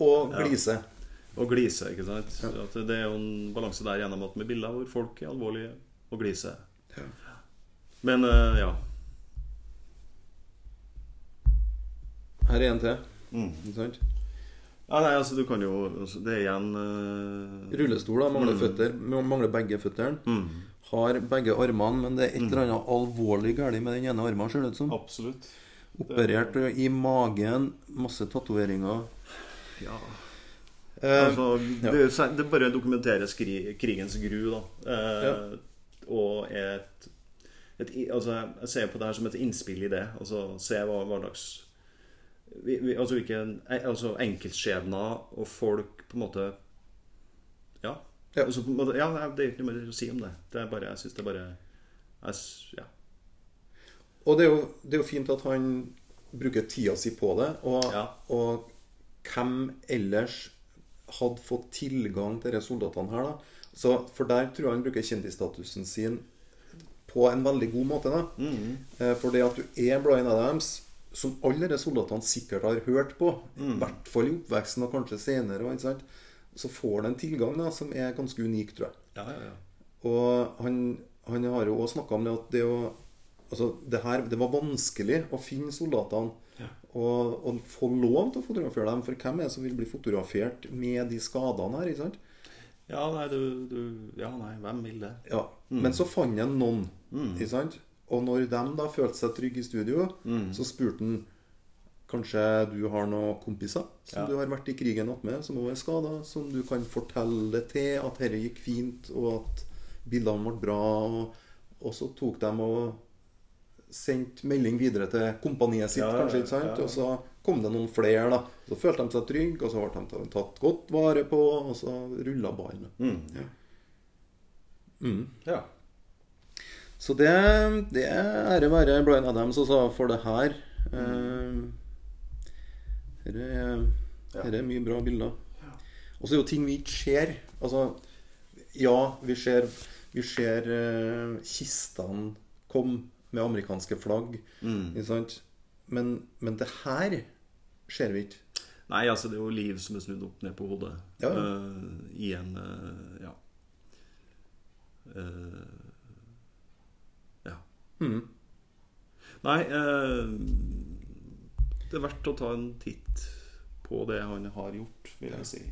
[SPEAKER 1] og glise.
[SPEAKER 2] og glise, ikke sant? At det er jo en balanse der gjennom at med bilder hvor folk er alvorlige og gliser.
[SPEAKER 1] Ja.
[SPEAKER 2] Men eh, ja.
[SPEAKER 1] Her er en til. Ikke sant?
[SPEAKER 2] ja. Nei, altså, du kan jo altså, Det er igjen eh,
[SPEAKER 1] Rullestol, da. Mangler føtter. Mangler begge føttene. Har begge armene, men det er et eller annet alvorlig galt med den ene armen, ser det ut som.
[SPEAKER 2] Absolutt.
[SPEAKER 1] Operert i magen. Masse tatoveringer.
[SPEAKER 2] Ja.
[SPEAKER 1] Eh,
[SPEAKER 2] Altså, det, det bare dokumenterer skri, krigens gru, da. Eh, Og et, et i- altså, Jeg ser på det her som et innspill i det. Altså, se hva hverdags vi, vi, Altså, hvilken- eh, altså enkeltskjebner og folk på en måte Ja.
[SPEAKER 1] Ja.
[SPEAKER 2] Altså, på en måte, ja nei, det er ikke noe mer å si om det. Det er bare, Jeg syns det er bare jeg, s- ja.
[SPEAKER 1] Og det er, jo, det er jo fint at han bruker tida si på det. Og,
[SPEAKER 2] Ja.
[SPEAKER 1] og hvem ellers hadde fått tilgang til disse soldatene her, da? Så, for der tror jeg han bruker kjendisstatusen sin på en veldig god måte. da. Eh, For det at du er Bryan Adams, som alle disse soldatene sikkert har hørt på, i hvert fall i oppveksten og kanskje senere, og ikke sant? så får han en tilgang da, som er ganske unik, tror jeg.
[SPEAKER 2] Ja, ja, ja.
[SPEAKER 1] Og han, han har jo også snakka om det at det å Altså, det her Det var vanskelig å finne soldatene. Og, og få lov til å fotografere dem. For hvem er det som vil bli fotografert med de skadene her? ikke sant?
[SPEAKER 2] Ja, nei, du, du Ja, nei, hvem vil det?
[SPEAKER 1] Ja,
[SPEAKER 2] Mm.
[SPEAKER 1] Men så fant han noen. ikke sant? Og når de da følte seg trygge i studio,
[SPEAKER 2] Mm.
[SPEAKER 1] så spurte han Kanskje du har noen kompiser som
[SPEAKER 2] Ja.
[SPEAKER 1] du har vært i krigen att med, som også er skada, som du kan fortelle til at dette gikk fint, og at bildene ble bra. Og, og så tok de og sendte melding videre til kompaniet sitt,
[SPEAKER 2] Ja, ja,
[SPEAKER 1] kanskje. ikke sant?
[SPEAKER 2] ja.
[SPEAKER 1] Og så kom det noen flere, da. Så følte de seg trygge, og så ble de tatt godt vare på, og så rulla ballen.
[SPEAKER 2] Mm.
[SPEAKER 1] Ja.
[SPEAKER 2] Ja.
[SPEAKER 1] Så det, det er ære være Bryan Adams også for det her. Dette er, her er mye bra bilder. Og så er jo ting vi ikke ser. Altså, ja, vi ser, vi ser eh, kistene kom med amerikanske flagg, ikke sant? Men, men det her ser vi ikke.
[SPEAKER 2] Nei, altså det er jo liv som er snudd opp ned på hodet.
[SPEAKER 1] Ja, ja.
[SPEAKER 2] Eh, I en eh, ja. Eh, ja.
[SPEAKER 1] Mm.
[SPEAKER 2] Nei eh, Det er verdt å ta en titt på det han har gjort, vil jeg si.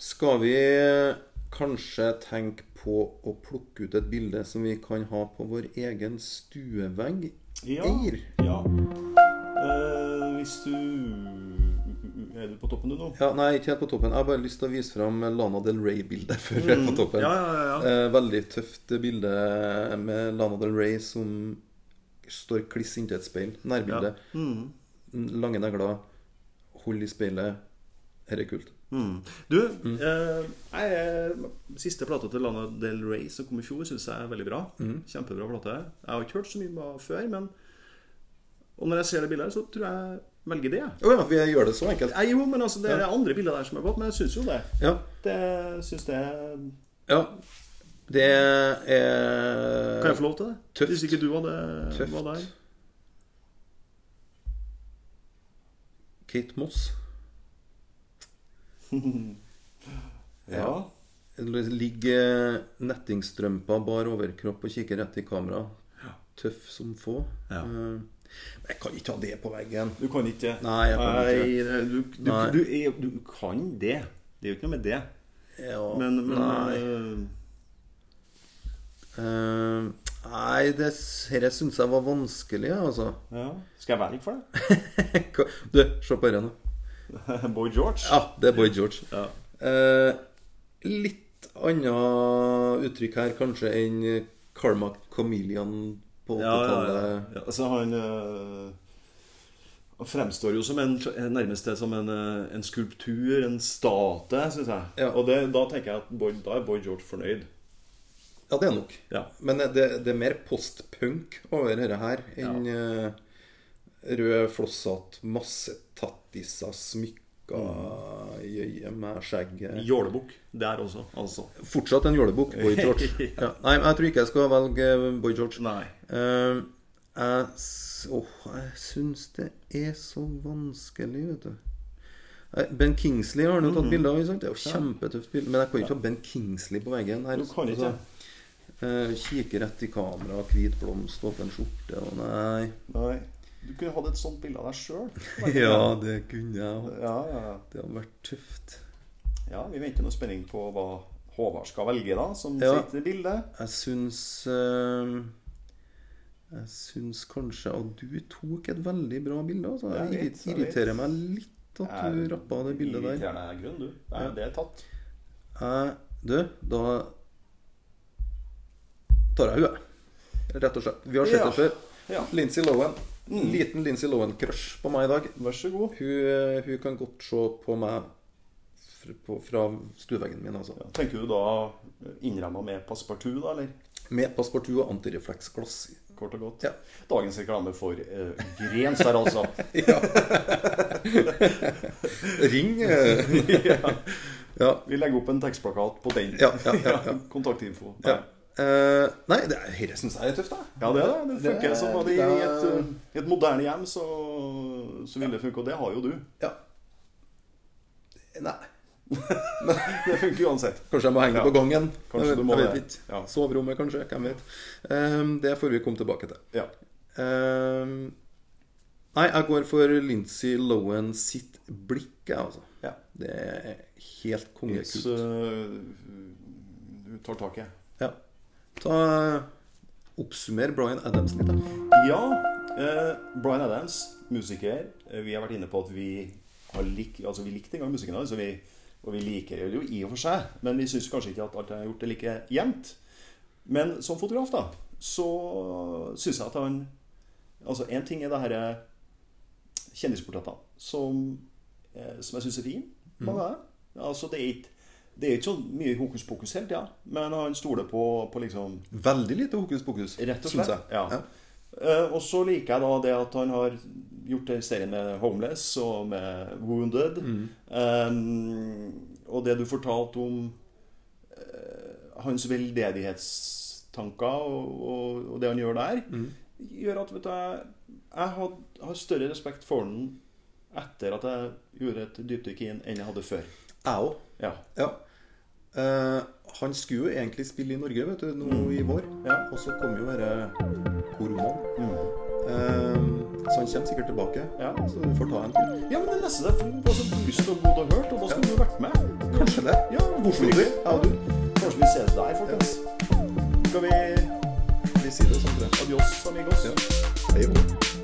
[SPEAKER 1] Skal vi eh, kanskje tenke på å plukke ut et bilde som vi kan ha på vår egen stuevegg? Eir?
[SPEAKER 2] ja. Eh, hvis du Er du på toppen, du nå?
[SPEAKER 1] Ja, nei, ikke helt på toppen. Jeg har bare lyst til å vise fram Lana Del Rey-bildet før vi er på toppen.
[SPEAKER 2] Mm. Ja, ja, ja, ja.
[SPEAKER 1] Eh, veldig tøft bilde med Lana Del Rey som står kliss inntil et speil. Nærbilde.
[SPEAKER 2] Mm.
[SPEAKER 1] Mm, Lange negler. Hold i speilet. Dette er kult.
[SPEAKER 2] Mm. Du, eh, jeg, eh, siste plata til Lana Del Rey som kom i fjor, syns jeg er veldig bra.
[SPEAKER 1] Mm.
[SPEAKER 2] Kjempebra plate. Jeg har ikke hørt så mye med henne før, men Og når jeg ser det bildet her, så tror jeg jeg velger det. jeg.
[SPEAKER 1] Å ja, vi gjør det så enkelt.
[SPEAKER 2] Nei, jo, men altså, det er andre bilder der som er godt, men jeg syns jo det.
[SPEAKER 1] Ja.
[SPEAKER 2] Det syns det
[SPEAKER 1] ja. Det er
[SPEAKER 2] Kan jeg få lov til det?
[SPEAKER 1] Eh, Tøft.
[SPEAKER 2] Hvis ikke du hadde
[SPEAKER 1] Tøft.
[SPEAKER 2] var der.
[SPEAKER 1] Kate Moss.
[SPEAKER 2] Ja.
[SPEAKER 1] Ligger nettingstrømpa bar overkropp og kikker rett i kamera. Tøff som få.
[SPEAKER 2] Ja.
[SPEAKER 1] Eh, Jeg kan ikke ha det på veggen.
[SPEAKER 2] Du kan ikke
[SPEAKER 1] Nei, jeg kan ikke
[SPEAKER 2] Nei, Du, du, du,
[SPEAKER 1] Nei.
[SPEAKER 2] er- du kan det. Det er jo ikke noe med det.
[SPEAKER 1] Ja,
[SPEAKER 2] Men, men
[SPEAKER 1] nei.
[SPEAKER 2] eh,
[SPEAKER 1] Eh, nei, det dette syns jeg var vanskelig, jeg, altså.
[SPEAKER 2] ja. Skal jeg velge for det?
[SPEAKER 1] Hva- du, se på dette nå.
[SPEAKER 2] Boy George?
[SPEAKER 1] Ja, det er Boy George.
[SPEAKER 2] Ja.
[SPEAKER 1] Eh, litt annet uttrykk her kanskje enn Karma Chameleon på
[SPEAKER 2] Ja, ja,
[SPEAKER 1] 80-tallet.
[SPEAKER 2] ja. ja. Altså, han øh, han fremstår jo som en, nærmest det som en, øh, en skulptur, en statue, syns jeg.
[SPEAKER 1] Ja.
[SPEAKER 2] Og det, da tenker jeg at Boyd, da er Boy George fornøyd.
[SPEAKER 1] Ja, det er nok.
[SPEAKER 2] Ja.
[SPEAKER 1] Men det, det er mer postpunk over dette her enn eh, rød flosshatt, masse tattiser, smykker,
[SPEAKER 2] Mm.
[SPEAKER 1] jøye med skjegg eh.
[SPEAKER 2] Jålebukk der også, altså.
[SPEAKER 1] Fortsatt en jålebukk, Boy George. ja. Nei, men jeg tror ikke jeg skal velge eh, Boy George.
[SPEAKER 2] Nei.
[SPEAKER 1] Eh, jeg s- åh, jeg syns det er så vanskelig, vet du. Nei, Ben Kingsley har han jo
[SPEAKER 2] Mm.
[SPEAKER 1] tatt bilde av. ikke sant? Det er jo kjempetøft bilde. Men jeg kan jo ikke ha Ben Kingsley på veggen. her altså.
[SPEAKER 2] Du kan ikke.
[SPEAKER 1] Eh, kikke rett i kamera, hvit blomst, åpen skjorte og Nei.
[SPEAKER 2] Nei. Du kunne hatt et sånt bilde av deg sjøl.
[SPEAKER 1] Ja, det kunne jeg ha.
[SPEAKER 2] Ja, ja, ja.
[SPEAKER 1] Det hadde vært tøft.
[SPEAKER 2] ja, vi venter nå spenning på hva Håvard skal velge, da, som
[SPEAKER 1] Ja.
[SPEAKER 2] sitter i bildet.
[SPEAKER 1] Jeg syns eh, Jeg syns kanskje at du tok et veldig bra bilde. Altså.
[SPEAKER 2] Jeg
[SPEAKER 1] Jeg
[SPEAKER 2] vet,
[SPEAKER 1] irrit-
[SPEAKER 2] jeg vet.
[SPEAKER 1] irriterer meg litt at du rappa det bildet der.
[SPEAKER 2] Irriterende er grunn, du. Nei, Det er tatt.
[SPEAKER 1] Jeg, Eh, du, da tar jeg henne. Rett og slett. Vi har sett
[SPEAKER 2] Ja.
[SPEAKER 1] det før.
[SPEAKER 2] Ja. Mm.
[SPEAKER 1] Lindsay Lohan. Liten Lindsay Lohan-crush på meg i dag.
[SPEAKER 2] Vær så god.
[SPEAKER 1] Hun, eh, hun kan godt se på meg fra, på, fra stueveggen min, altså.
[SPEAKER 2] Ja, tenker du da innramma med passepartout, da, eller?
[SPEAKER 1] Med passepartout og antirefleksglass.
[SPEAKER 2] Kort og godt.
[SPEAKER 1] Ja.
[SPEAKER 2] Dagens reklame for uh, Grens der, altså.
[SPEAKER 1] Ring! eh. ja.
[SPEAKER 2] Vi legger opp en tekstplakat på den.
[SPEAKER 1] Ja, ja, ja, ja.
[SPEAKER 2] Kontaktinfo.
[SPEAKER 1] ja.
[SPEAKER 2] Nei.
[SPEAKER 1] Eh, nei, det er- dette syns jeg er tøft, da.
[SPEAKER 2] Ja, det er det. Det funker
[SPEAKER 1] Det er-
[SPEAKER 2] som bare i
[SPEAKER 1] det er-
[SPEAKER 2] et, eh, i et moderne hjem, så, så vil det funke. Og det har jo du.
[SPEAKER 1] Ja. Nei.
[SPEAKER 2] Det funker uansett.
[SPEAKER 1] Kanskje jeg må henge
[SPEAKER 2] Ja.
[SPEAKER 1] på gangen.
[SPEAKER 2] Kanskje
[SPEAKER 1] jeg vet,
[SPEAKER 2] du må
[SPEAKER 1] jeg vet
[SPEAKER 2] det.
[SPEAKER 1] ikke.
[SPEAKER 2] Ja.
[SPEAKER 1] Soverommet, kanskje. Hvem vet. Ehm, det får vi komme tilbake til.
[SPEAKER 2] Ja.
[SPEAKER 1] Ehm, nei, jeg går for Lincy Lohan sitt blikk, jeg, altså.
[SPEAKER 2] ja.
[SPEAKER 1] Det er helt
[SPEAKER 2] Yes,
[SPEAKER 1] kongekult.
[SPEAKER 2] eh, du tar tak i det.
[SPEAKER 1] Ja. Ta Oppsummer Bryan Adams litt, da.
[SPEAKER 2] Ja, eh, Bryan Adams, musiker. Eh, Vi har vært inne på at vi har lik, altså vi likte en gang musikken hans, og vi, og vi liker det jo i og for seg. Men vi syns kanskje ikke at alt jeg har gjort, er like jevnt. Men som fotograf, da, så syns jeg at han Altså, én ting er det herre kjendisportrettene som, eh, som jeg syns er fine. Mange av dem. Altså, det er ikke det er ikke så mye hokus pokus hele tida, men han stoler på, på liksom
[SPEAKER 1] Veldig lite hokus pokus,
[SPEAKER 2] Rett og
[SPEAKER 1] syns jeg.
[SPEAKER 2] slett, ja. Eh, og så liker jeg da det at han har gjort det serien med Homeless og med Wounded. Eh, og det du fortalte om eh, hans veldedighetstanker og, og, og det han gjør der, gjør at vet du, jeg, jeg had, har større respekt for han etter at jeg gjorde et dypdykk i han enn jeg hadde før.
[SPEAKER 1] Jeg òg.
[SPEAKER 2] Ja.
[SPEAKER 1] Ja. Eh, han skulle jo egentlig spille i Norge, vet du, nå i vår.
[SPEAKER 2] Ja.
[SPEAKER 1] Og så kom jo denne koronaen. Mm. Eh, så han kommer sikkert tilbake.
[SPEAKER 2] Ja.
[SPEAKER 1] Så du får ta en tur.
[SPEAKER 2] ja, men det neste det er for- altså, lyst og god og hørt, og da skulle du jo vært med.
[SPEAKER 1] Kanskje det.
[SPEAKER 2] Ja, hvorfor ikke? Ja, du. Kanskje vi ses der, folkens. Skal vi
[SPEAKER 1] Vi sier det sånn til det.
[SPEAKER 2] Adios, amigos.
[SPEAKER 1] Ja. Hei og hå.